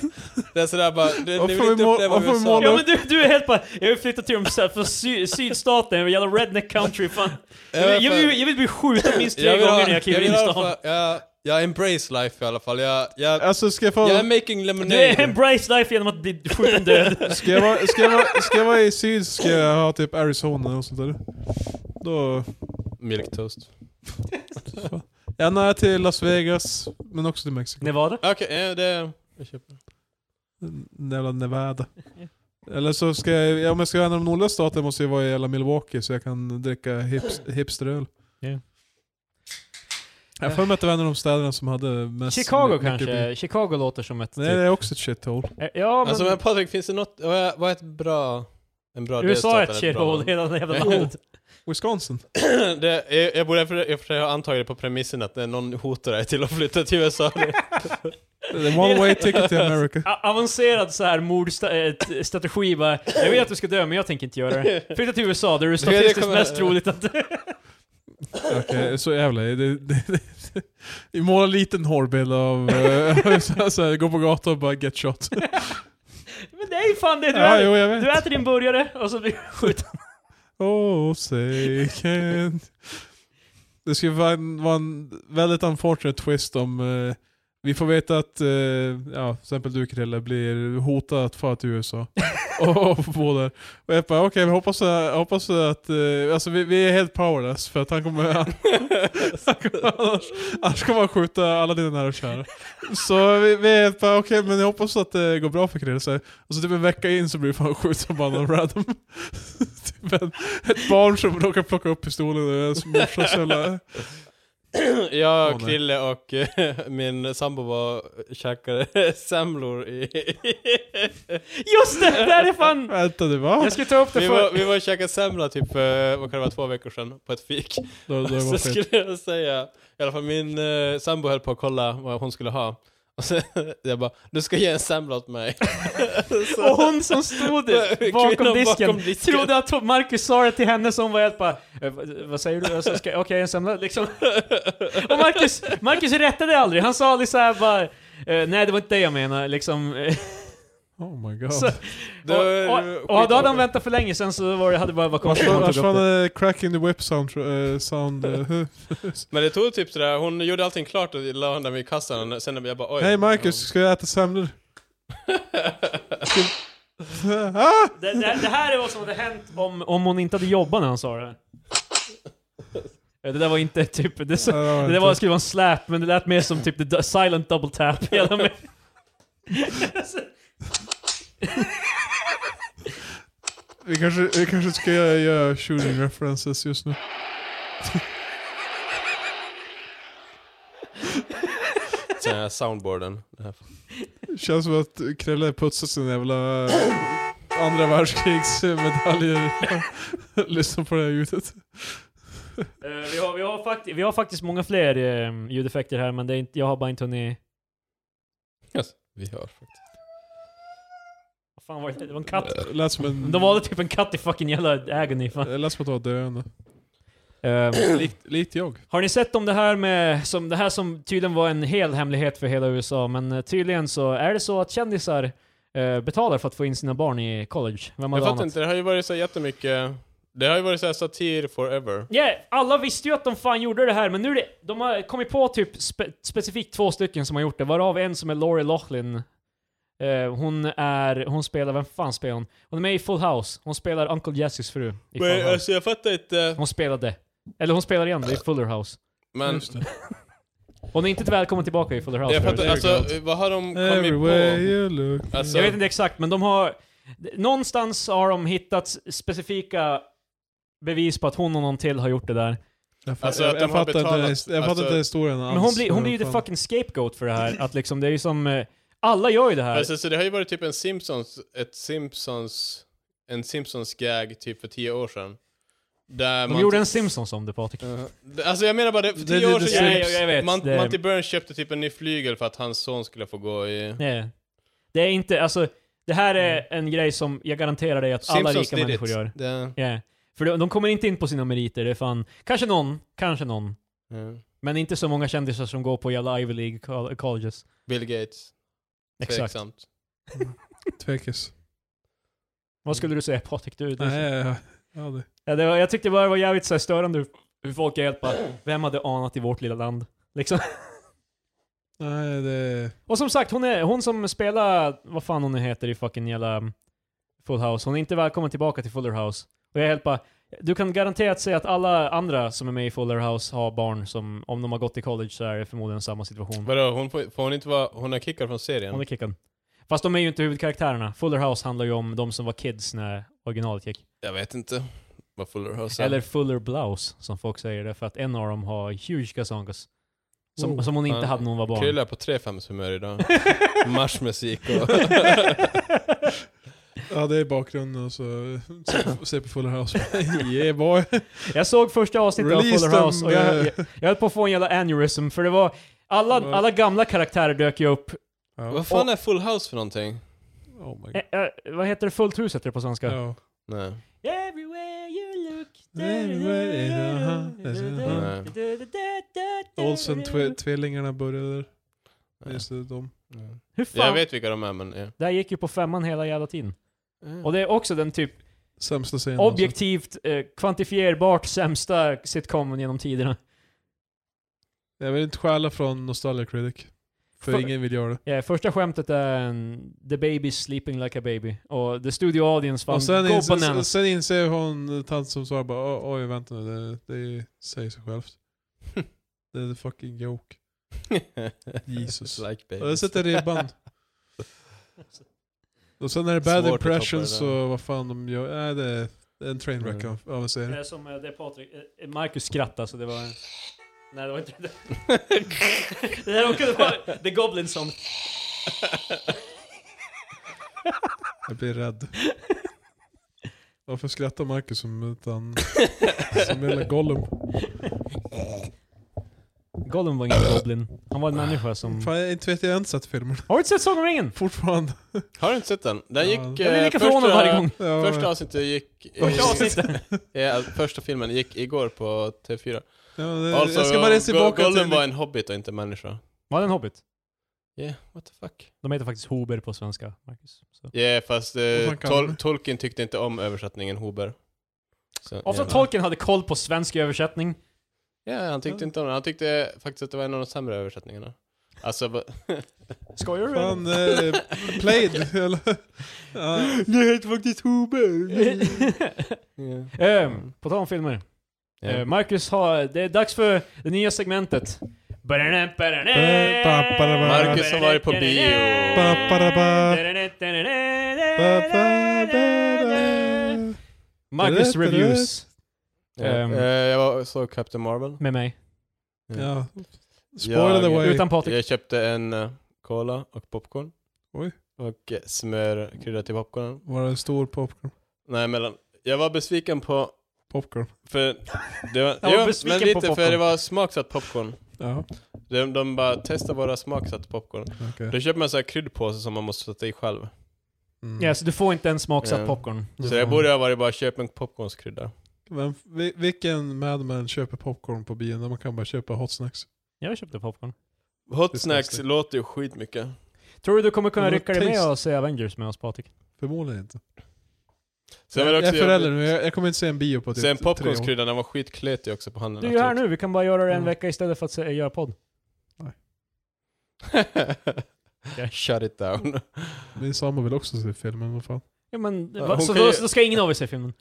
Det är sådär bara, det,
Varför
ni
vi
vill inte
må-
uppleva
varför vi
USA.
målar
Ja men du, du är helt bara, jag vill flytta till de så- för sy, sydstaten, jävla redneck country fan. Jag vill, jag vill, jag vill bli skjuten minst tre gånger när jag kliver in i
i alla
stan.
fall- jag, jag embrace life i alla fall. Jag, jag,
Alltså ska jag få...
jag är making
Du är
lemonade.
embrace life genom att bli skjuten död.
Ska jag, vara, ska, jag vara, ska jag vara i syd så ska jag ha typ Arizona och sånt där. Då...
Milk toast.
Jag är nära till Las Vegas, men också till Mexiko.
Nevada?
Okej, eh, det... Jag köper.
Den Jävla Nevada. Eller så ska jag, ja, om jag ska vara en av de nordliga staterna måste jag vara i jävla Milwaukee så jag kan dricka hips, hipsteröl.
Ja.
Jag har för mig att det var en av de städerna som hade mest...
Chicago
mycket bil.
kanske? Typ. Chicago låter som ett...
Nej, det är också ett shithole.
typ- Ja men...
Alltså men Patrik, finns det något... Vad är, vad är ett bra... En bra
USA är ett
delstat eller ett bra
shithole, hela det jävla
Ja.
landet.
Wisconsin.
land? det, jag, jag borde för- jag för sig ha antagit det på premissen att det är någon hotar dig till att flytta till USA.
Det är one way ticket till America.
A- avancerad så här mordstrategi bara, jag vet att du ska dö men jag tänker inte göra det. Flytta till USA där det är
Det kommer-
statistiskt mest troligt att...
Okej, så jävla... Det, det, det, vi målar en liten hårbild av... eh, så, här- så här, gå på gatan och bara get shot.
men det är ju fan det du
ja,
är!
jo, jag
Du
vet.
äter din burgare och så blir du skjuten.
Oh, say can... Det skulle vara en, vara en väldigt unfortunate twist om... eh, vi får veta att, eh, ja, till exempel du Krille blir hotad att fara till USA. och och bo där. Och jag bara, okej, vi hoppas, jag hoppas att... eh, alltså vi, vi är helt powerless för att han kommer... Han, han kommer annars, annars kommer han skjuta alla dina nära och kära. Så vi, vi är helt bara, okej, men jag hoppas att det går bra för Krille. Så, och så typ en vecka in så blir han skjuten bara någon random. typ en, ett barn som råkar plocka upp pistolen och ens morsa så jävla...
jag,
Åh, nej.
Krille och eh, min sambo var och käkade semlor i...
Just det! Där är fan...
Vänta du, va?
Jag skulle ta upp det
vi, var,
för...
vi var och käkade semla typ, eh, vad kan det vara, två veckor sedan på ett fik.
Då, då var
Så
det skit.
skulle jag säga, i alla fall min eh, sambo höll på att kolla vad hon skulle ha. Och sen jag bara, du ska ge en semla åt mig.
Och hon som stod
Kvinnan
bakom
bakom
disken
disken.
trodde att Marcus sa det till henne som var helt bara "Eh, vad- Vad säger du? Alltså, ska- Okej, en semla liksom. Och Marcus, Marcus rättade aldrig. Han sa aldrig såhär bara "Eh, Nej, det var inte det jag menade liksom. eh,
Oh my god.
Så-
Det var-
och, och, och då hade han väntat för länge sen så var det, hade det bara varit
Vars
konflikt.
vars fan är Cracking the Whip sound... eh, sound eh,
Men det tog typ sådär, hon gjorde allting klart och la honom i kassan. Och sen jag bara, oj.
Hej Marcus, ska jag äta semlor? Ska- ah!
Det, det, det här är vad som hade hänt om, om hon inte hade jobbat när han sa det här. Eh, Det där var inte typ... Det, så,
Ja,
det där var, skulle vara en slap, men det lät mer som typ the du- silent double tap. Hela med.
Vi kanske, vi kanske ska göra, göra shooting references just nu.
Sen här soundboarden. Det här.
Känns som att Krille putsar sin jävla eh, andra världskrigsmedaljer. Lyssna på det här ljudet.
Eh, vi, har, vi, har fakti- vi har faktiskt många fler eh, ljudeffekter här, men det är inte, jag har bara inte hunnit...
Vi hör faktiskt.
Vad fan var det? Det var en katt.
Det Eh, Lät som en...
De valde typ en katt i fucking jävla agony fan.
Det Lät som att det var döende.
Eh,
Mm.
Likt, likt jag.
Har ni sett om det här med, som, det här som tydligen var en hel hemlighet för hela USA, men eh, tydligen så är det så att kändisar eh, betalar för att få in sina barn i college. Vem
Jag
hade
fattar
anat?
inte, det har ju varit så jättemycket, det har ju varit så här satir forever.
Ja, alla visste ju att de fan gjorde det här, men nu är det, de har kommit på typ spe, specifikt två stycken som har gjort det, varav en som är Lori Loughlin. Eh, hon är, hon spelar, vem fan spelar hon? Hon är med i Full House, hon spelar Uncle Jessys fru i Full
Men
House.
alltså jag fattar inte.
Hon spelade, eller hon spelar igen i Fuller House. Mm.
Men
Just det.
Hon är inte välkommen tillbaka i Fuller House.
jag
för övrigt.
fattar, alltså vad har de kommit
Everywhere
på?
you look.
Alltså,
Jag vet inte exakt, men de har... Någonstans har de hittat s- specifika bevis på att hon och någon till har gjort det där.
Jag, fa-
Alltså,
jag,
att de
jag
har
fattar inte,
betalat-
jag fattar inte
alltså-
historien alls.
Men hon blir, hon blir ju the
Fan.
fucking scapegoat för det här, att liksom det är ju som... eh, Alla gör ju det här.
Alltså, så det har ju varit typ en Simpsons, ett Simpsons, en Simpsons gag typ för tio år sedan. Där typ-
De gjorde en Simpsons om det Patrik.
Alltså jag menar bara det, för
Det-
tio
det-
år
det
sedan
syns.
gjorde-
Ja, ja, jag vet.
Mont-
Det-
Monty Burns köpte typ en ny flygel för att hans son skulle få gå i...
Nej. Det är inte, alltså... Det här är en grej som jag garanterar dig att alla rika
did
människor
it.
gör.
Det,
Yeah. För de, de kommer inte in på sina meriter, det är fan... Kanske någon, kanske någon.
ja.
Men inte så många kändisar som går på jävla Ivy League col- colleges.
Bill Gates.
Exakt.
Tveksamt.
Tvekis.
Vad skulle du säga Patrik? Du, du
Nej, jag- jag hade-
Ja, det var, jag tyckte bara det var jävligt så här störande hur, hur folk är helt bara, vem hade anat i vårt lilla land? Liksom.
nej, det...
Och som sagt, hon, är, hon som spelar, vad fan hon nu heter i fucking jävla um, Full House, hon är inte välkommen tillbaka till Fuller House. Och jag är helt bara, du kan garanterat säga att alla andra som är med i Fuller House har barn som, om de har gått i college så är det förmodligen samma situation.
Vadå, hon får, får hon inte vara... Hon är kickad från serien?
Hon är kickad. Fast de är ju inte huvudkaraktärerna. Fuller House handlar ju om de som var kids när originalet gick.
Jag vet inte. Vad Fuller House är.
Eller Fuller Blouse, som folk säger det, för att en av dem har huge gazongas. Som,
Oh.
som hon inte
Ja.
hade när hon var barn.
Krille är på 3-5s humör idag. Marschmusik och...
Ja, det är bakgrunden och så... se- Se på Fuller House. yeah boy.
jag såg första avsnittet av
Release
Fuller House
them,
och jag,
eh.
jag, jag höll på att få en jävla aneurysm för det var... Alla,
Ja.
alla gamla karaktärer dök ju upp.
Ja.
Vad fan är Full House för någonting?
Oh my god.
Eh, eh, vad heter det? Fullt hus heter det på svenska.
Ja.
Nej.
Everywhere you look...
Everywhere Olsen
Eh.
tw- tvillingarna började där.
Nej.
Just det, de.
Hur
Jag
fan?
vet vilka de är men... Ja.
Det här gick ju på femman hela jävla tiden.
Mm.
Och det är också den typ
Sämsta scenen. alltså.
objektivt, eh, kvantifierbart sämsta sitcomen genom tiderna.
Alltså. Jag vill inte stjäla från Nostalgia Critic. För
För-
ingen vill göra det.
Ja, Eh, första skämtet är en, The baby sleeping like a baby. Och the studio audience fan,
och sen,
go
inser,
bananas.
sen inser hon, tant som svarar bara "Oj, oj vänta nu, det, det säger sig självt. det är the fucking joke. Jesus.
Like
Och det
babies.
sätter ribban. och sen är det bad
Svårt att
impressions
toppa det där.
och vad fan de gör. Nej, det är det är en train wreck
Mm.
av- av en
Det
serie.
är som eh, det är Patrik, eh, Marcus skrattade så det var... Nej det var inte det. det där råkade vara The Goblin Song.
Jag blir rädd. Varför skrattar Marcus som utan... som hela Gollum?
Gollum var ingen Goblin. Han var en människa som...
Fan, jag inte vet jag har inte sett filmen.
Har du inte sett Sagan om ringen?
Fortfarande.
Har du inte sett den? Den
Ja.
gick...
Jag blir
eh,
lika förvånad varje gång.
Ja,
Första avsnittet gick... i-
Första avsnittet.
Ja, första filmen gick igår på TV4.
ja, det,
Alltså,
Eh, jag ska bara resa
Go-
tillbaka
Gollum
till...
var en hobbit och inte en människa.
Var det en hobbit?
Yeah, what the fuck?
De heter faktiskt Hober på svenska, Marcus. Så.
Yeah, fast eh,
Vad fan kan
Tol-
man?
Tolkien tyckte inte om översättningen Hober. Så,
Ofta
ja.
Tolkien hade koll på svensk översättning.
Ja, han tyckte inte om det. Han tyckte faktiskt att det var en av de sämre översättningarna. Alltså, va-
Skojar du?
Fan, eh, played. eller? ja.
det heter faktiskt Hober! yeah.
Ehm, på tal om filmer. Eh, Marcus har, det är dags för det nya segmentet.
Marcus
har varit på bio.
Marcus Reviews. Ehm.
Eh, jag var, såg Captain Marvel.
Med mig.
Ja. Spoiler
Jag-
away.
Utan Patrik.
Jag köpte en eh, cola och popcorn.
Oj.
Och eh, smör, krydda till popcornen.
Var det en stor popcorn?
Nej, mellan. Jag var besviken på...
Popcorn.
För det var,
Jag var
jo,
besviken
men
på
lite,
popcorn.
för det var smaksatt popcorn.
Ja,
De, de bara testar våra smaksatt popcorn.
okej.
Då köper man så här kryddpåse som man måste sätta i själv.
Mm.
Ja, så du får inte en smaksatt
Ja.
popcorn.
Så jag borde ha varit bara köp en popcornskrydda.
Men vi- vilken madman köper popcorn på bion när man kan bara köpa hot snacks?
Jag köpte popcorn.
Hot
Just
snacks
det.
låter ju skitmycket.
Tror du du kommer kunna
Men
rycka dig med
taste.
och se Avengers med oss Patrik?
Förmodligen inte.
Sen var
jag
det
är
också
förälder nu, jag, jag kommer inte se en bio på typ
Sen
tre år.
popcornskryddan, den var skitkletig också på handen.
Du är ju här nu, vi kan bara göra det en
Mm.
vecka istället för att se, göra podd.
nu. Shut it down.
Min sambo vill också se filmen, vad fan.
Ja, men,
Ja,
va,
hon
så
kan
då,
ju-
då ska ingen av er se filmen.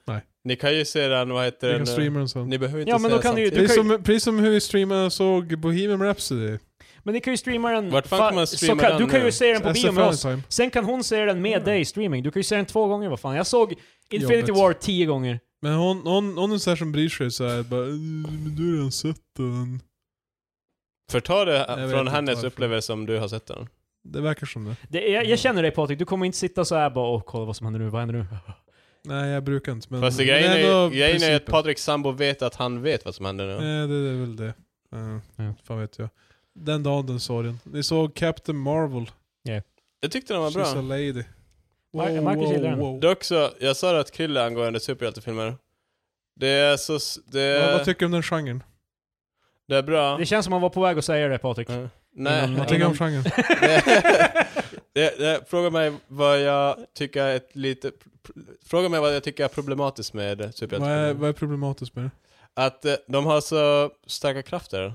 Ni kan ju se den, vad heter
Vi kan
den? eh,
streama den sen.
Ni behöver inte
Ja, men
se
då kan
den
ni ju-
Det är
du kan
som, precis som hur vi streamade såg Bohemian Rhapsody.
Men ni kan ju streama den...
Vart fan
fa-
kan man
så
streama
kan,
den
Du kan
nu?
ju se den på bio med oss.
Time.
Sen kan hon se den med
Mm.
dig i streaming. Du kan ju se den två gånger vad fan. Jag såg Infinity
Jobbet.
War tio gånger.
Men hon, hon, hon är så här som bryr sig så här, bara, "Eh, men du har redan sett den.
Förta
Jag
det
vet
från
inte
hennes
varför.
upplevelse om du har sett den.
Det verkar som det.
Det, jag,
Mm.
jag känner dig Patrik, du kommer inte sitta så här bara åh kolla vad som händer nu, vad händer nu?
Nej jag brukar inte men...
Fast det
men
alltså, grejen är,
ändå
grejen är att
Mm. principen. Mm.
Patriks sambo vet att han vet vad som händer nu.
Nej, Eh, det är väl det. Ja,
Ja.
Fan vet jag. Den dagen, den sorgen. Ni såg Captain Marvel.
Jag tyckte den var
She's a
bra.
lady.
Mar- Marcus gillar den.
Det är också, jag sa det att Krille angående superhjältefilmer. Det är så... s- Det
Vad,
är,
vad tycker du om den genren?
det är bra.
Det känns som han var på väg att säga det Patrik.
Ja. Nej.
Inom-
Vad tycker du om
inom-
genren?
det, det, fråga mig vad jag tycker är ett lite... Fråga mig vad jag tycker är problematiskt med
vad, är,
superhjältefilmer.
vad är problematiskt med det?
Att eh, de har så starka krafter.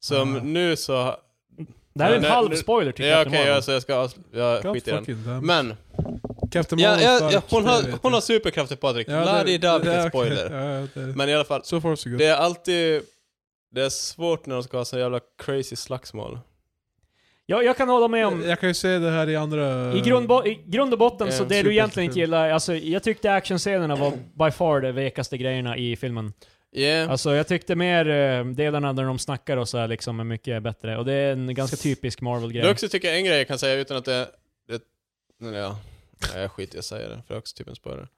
Som
Ah.
nu så...
Det här är en
Nej,
halv
nu-
spoiler till
Ja,
Captain
okej,
Marvel.
ja, så jag ska... avs- Jag
God
skiter i den.
fucking damn.
Men,
Captain
ja,
Marvel
ja,
stark,
ja, hon,
det vet
har,
jag.
hon har superkrafter Patrik.
Ja, det-
Ja,
det-
det,
det-
det, vilket spoiler.
okej. Ja, ja, det-
Men i alla fall,
So far so good.
det är alltid... Det är svårt när de ska ha så jävla crazy slagsmål.
jag, jag kan hålla med om,
Jag kan ju se det här i andra...
I grund, bo- i grund och botten
Eh,
så det du
superhjälte-
egentligen inte gillar, alltså jag tyckte actionscenerna var by far de vekaste grejerna i filmen.
Yeah.
Alltså jag tyckte mer eh, delarna där de snackar och så här liksom är mycket bättre. Och det är en ganska typisk
Det
Marvel-grej.
också tycker jag en grej jag kan säga utan att det... det nej, ja. Nej, jag skiter jag säger det, för det är också typ en spoiler.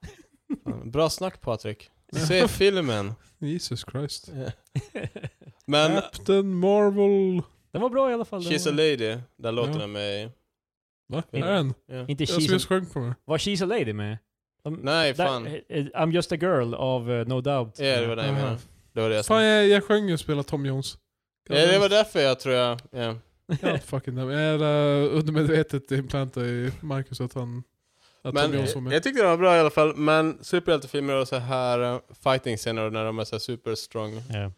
Fan, Bra snack Patrik. Se filmen.
Jesus Christ.
Men
Captain Marvel.
Den var bra i alla fall. Den
She's a
var...
lady, där låten
Ja.
är med i.
Va? Är
Inte-
den?
Ja.
Inte
Jag som just
she's a...
sjöng på mig.
Var She's a Lady med? De-
Nej,
där-
fan.
eh, I'm just a girl av eh, No Doubt.
Ja, det var det jag
Aha.
menade. Det var det jag sa.
Fan jag, jag sjöng ju och spelade Tom Jones.
Ja, det var därför jag tror jag... Ja.
God fucking damn. Jag är uh, undermedvetet implantade i Marcus att han... Att Tom
Men
Jones var
jag,
med.
jag tyckte den var bra i alla fall, men superhjältefilmer och så här eh, fighting-scener när de är så här super strong.
Ja.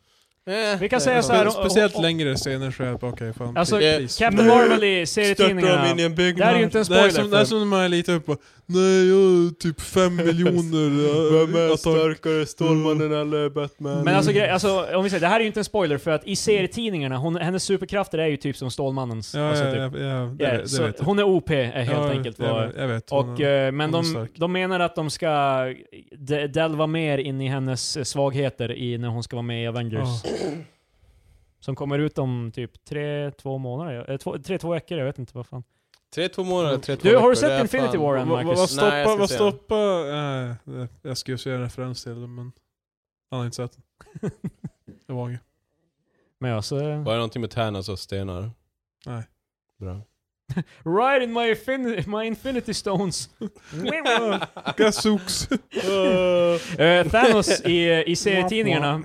Eh,
Vi kan
eh,
säga så här,
Spe- speciellt
och- och-
längre scener så är jag bara okej, fan.
Alltså,
please,
eh,
please.
Captain Marvel i serietidningarna.
Störtar dem in i en
Det här är
byggnad.
ju inte en
Det
spoiler.
är som, det är
för-
som när man är lite uppe och, Nej, jag har typ fem miljoner... eh,
Vem är
att ta-
starkare, Stålmannen eller Batman?
Men alltså, grej, alltså, om vi säger, det här är ju inte en spoiler för att i serietidningarna, hon, hennes superkrafter är ju typ som Stålmannens.
Ja,
alltså,
ja,
typ.
ja, ja, det,
Ja,
vet- det
så
vet jag.
hon är OP är helt
Ja,
enkelt
jag,
vad...
vet- jag vet.
Och,
Hon-
eh, men
hon är
de,
stark.
de menar att de ska de, delva mer in i hennes eh, svagheter i, när hon ska vara med i Avengers.
Ja.
Som kommer ut om typ tre, två månader. ja. Eh, två, tre, två veckor, jag vet inte vad fan.
3-2 månader, 3-2
Du, har
veckor,
du sett
det är
Infinity
fan-
War än
Vad- Vad vad
Marcus?
Nej,
stoppar...
jag ska
Vad
se den.
stoppar... nej, det- Jag ska ju se en referens till den, men... Han har inte sett den. Det var inget.
Men ja, så...
Var det någonting med Thanos och stenar?
Nej.
Bra.
Right in my, infin- my infinity stones!
Gazooks!
Uh, Eh, Thanos i, i serietidningarna.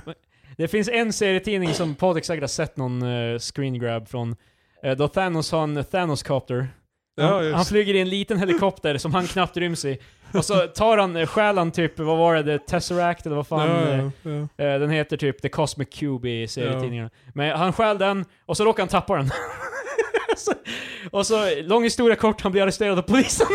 Det finns en serietidning som Patrik säkert har sett någon eh, screen grab från. eh, då Thanos har en Thanos-copter.
Ja,
Han, han
just.
flyger i en liten helikopter som han knappt ryms i. Och så tar han, eh, stjäl han typ, vad var det, The Tesseract eller vad fan?
ja,
eh,
ja, ja.
eh, den heter typ The Cosmic Cube i serietidningarna. Men han stjäl den, och så råkar han tappa den. så, och så, lång historia kort, han blir arresterad av polisen.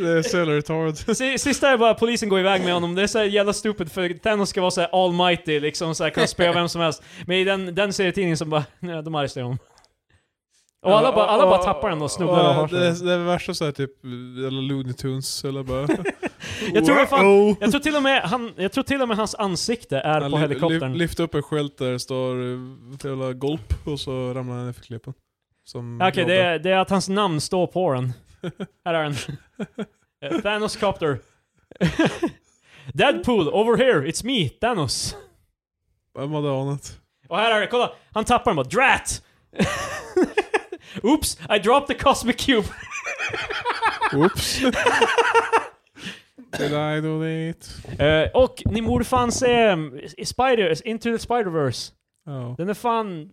Det är Sailor Retard.
Si- Sista är bara polisen går iväg med honom, det är så här jävla stupid för Thanos ska vara så här almighty liksom, så här, kan spöa vem som helst. Men i den, den serietidningen som bara, nej, de arresterar honom. Och alla bara, alla bara tappar den och snubblar och har sig.
det, det är värsta såhär typ, eller Looney Tunes eller bara...
Jag tror det fan-
Wow.
Jag tror till och med, han, jag tror till och med hans ansikte är
Han
på
ly-
helikoptern.
lyf- lyfte upp en skylt där det står eh, jävla golp och så ramlade han ner för klippan. Som
Okej, det,
jobbar.
är- det är att hans namn står på den. Här är den. Eh, Thanos Copter. Deadpool, over here, it's me, Thanos.
Vem hade anat?
Och här är det, kolla! Han tappar den bara, DRAT! Oops, I dropped the Cosmic Cube!
Oops. Did I do it?
Eh, och ni borde fan se um, Spiders, Into the Spider-Verse.
Ja.
Den är fan...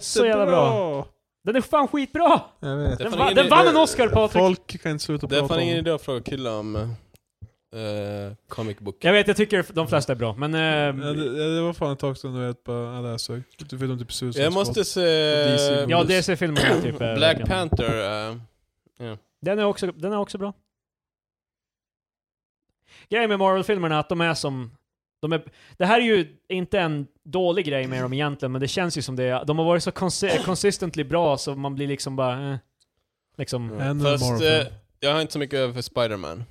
Så jävla
Jättebra!
bra. Den är fan skitbra!
Jag vet.
Den,
fan
va,
ingen
den
idé.
vann en Oscar Patrik!
Folk kan inte sluta
Det är
prata
fan
om
ingen
det.
idé att fråga killar om uh, comic book.
Jag vet, jag tycker de flesta är bra, men... ehm,
Ja, det, ja, det var fan ett tag sedan du vet bara, ja det här sög. Du vet om typ Suicide
Jag måste se
DC
eh,
Movies.
ja, DC-filmerna typ. är
Black
verkligen-
Panther. eh,
Den är också, den är också bra. Grejen med Marvel-filmerna är att de är som... De är, det här är ju inte en dålig grej med dem egentligen, men det känns ju som det. De har varit så konsi- consistently bra så man blir liksom bara... Eh, liksom,
ja.
Squad. Ännu en
Fast
Marvel-film.
eh, jag har inte så mycket över för Spider-Man.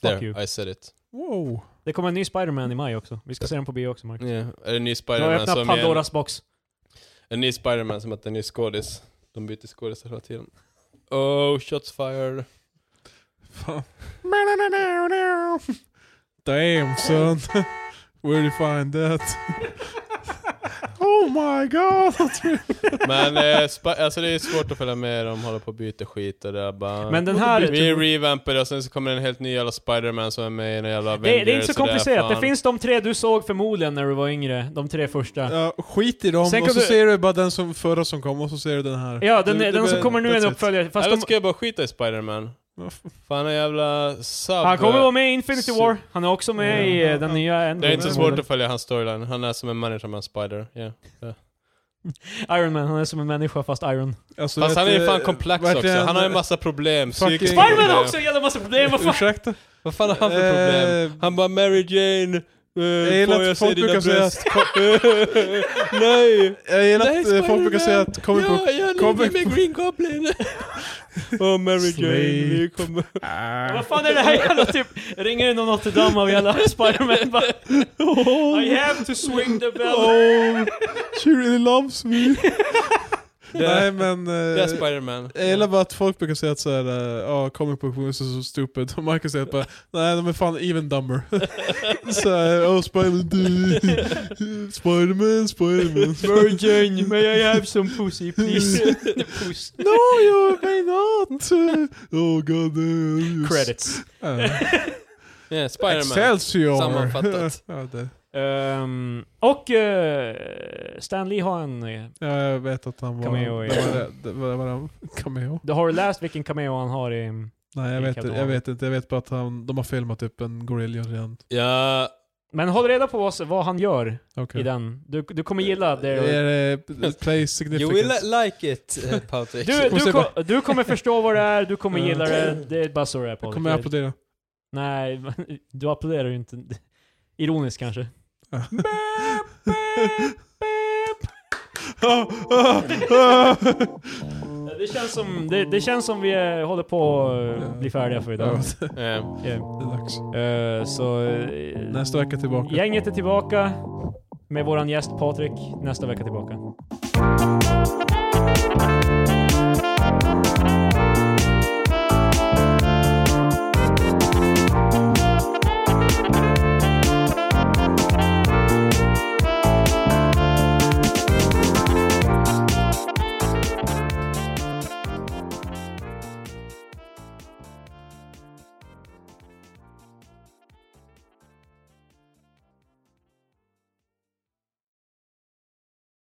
fuck you.
There, I said it.
Wow.
Det kommer en ny Spider-Man i maj också. Vi ska se den på bio också Marcus.
Ja, Är det en ny
Jag har
Spiderman
öppnat
som är en,
Pandoras box.
en ny Spiderman som att en ny skådis. De byter skådisar hela tiden. Oh, shots fired.
Fan. Damn son. Where do you find that? oh my god!
Men eh, spa- alltså det är svårt att följa med, de håller på att byta skit och det är bara...
Men den här... typ-
vi revampar det och sen så kommer en helt ny jävla Spiderman som är med i en jävla Avengers
Det, det är inte så
och
komplicerat.
fan.
Det finns de tre du såg förmodligen när du var yngre. De tre första.
Ja, skit i dem,
Sen
och så
kommer-
ser du bara den som förra som kom, och så ser du den här.
Ja, den,
Det- det
den som
blir-
kommer nu är en
that's it.
uppföljare. Fast
Eller
de,
ska jag bara skita i Spiderman? Fan en jävla sub...
han kommer vara med i Infinity War. Han är också med i eh,
Ja.
den nya
Det är
Endgame.
inte svårt att följa hans storyline, han är som en människa med en spider. Yeah.
Iron Man, han är som en människa fast Iron.
Alltså,
Fast
vet
han är ju
du,
fan komplex
vart är
också, han har ju massa problem,
Fucking-
psykiska
Spiderman
Spiderman
problem.
har också en jävla massa problem, vad fan!
Ursäkta?
Vad fan har han för problem?
Eh,
Han bara Mary Jane, eh,
gillar
får
att
jag se
folk
dina
brukar säga
bröst? Nej!
Jag gillar
Nej,
att eh, folk brukar
Spider-Man.
säga att comic book...
Ja, jag
comic
ligger med Green Goblin!
Oh,
Åh Mary Jane, vi
Sleep.
kommer... Ah.
Vad fan är det här jävla typ? Ringer in någon Notre Dame av jävla Spiderman bara I have to swing the bell.
Oh, she really loves me. Nej men... eh,
Det är Spiderman.
jag gillar bara att folk brukar säga att såhär, ja comic book movies är så stupid. Och Marcus säger att bara, nej de är fan even dumber. såhär, oh Spiderman, du- Spiderman, Spiderman.
Mary Jane, may I have some pussy please? Puss.
No you may not! Oh god. eh,
Credits.
Ja.
Yeah, Spiderman.
Excelsior!
Sammanfattat.
ja, det.
Ehm, och eh, Stan Lee har en... eh,
Ja, jag vet att han var...
Cameo i-
det var det, det var, det var han. Cameo?
Du har läst vilken cameo han har i...
Nej jag
Vilka
vet,
då?
jag vet inte, jag vet bara att han, de har filmat typ en gorilla redan.
Ja,
Men håll reda på vad, vad han gör
Okej.
i den. Du, du kommer gilla det.
Är det play
you
significant?
will like it, eh, Patrik.
Du,
Kommer
du,
se
ko- du kommer förstå vad det är, du kommer
Mm.
gilla det. Det är bara så det är
jag kommer jag
på
applådera.
Nej, du applåderar ju inte. Ironiskt kanske. Det känns som, det, det känns som vi eh, håller på att bli färdiga för idag.
Ja,
Yeah.
Ja.
det är dags.
Eh, så... eh,
Nästa vecka tillbaka.
Gänget är tillbaka med våran gäst Patrik nästa vecka tillbaka.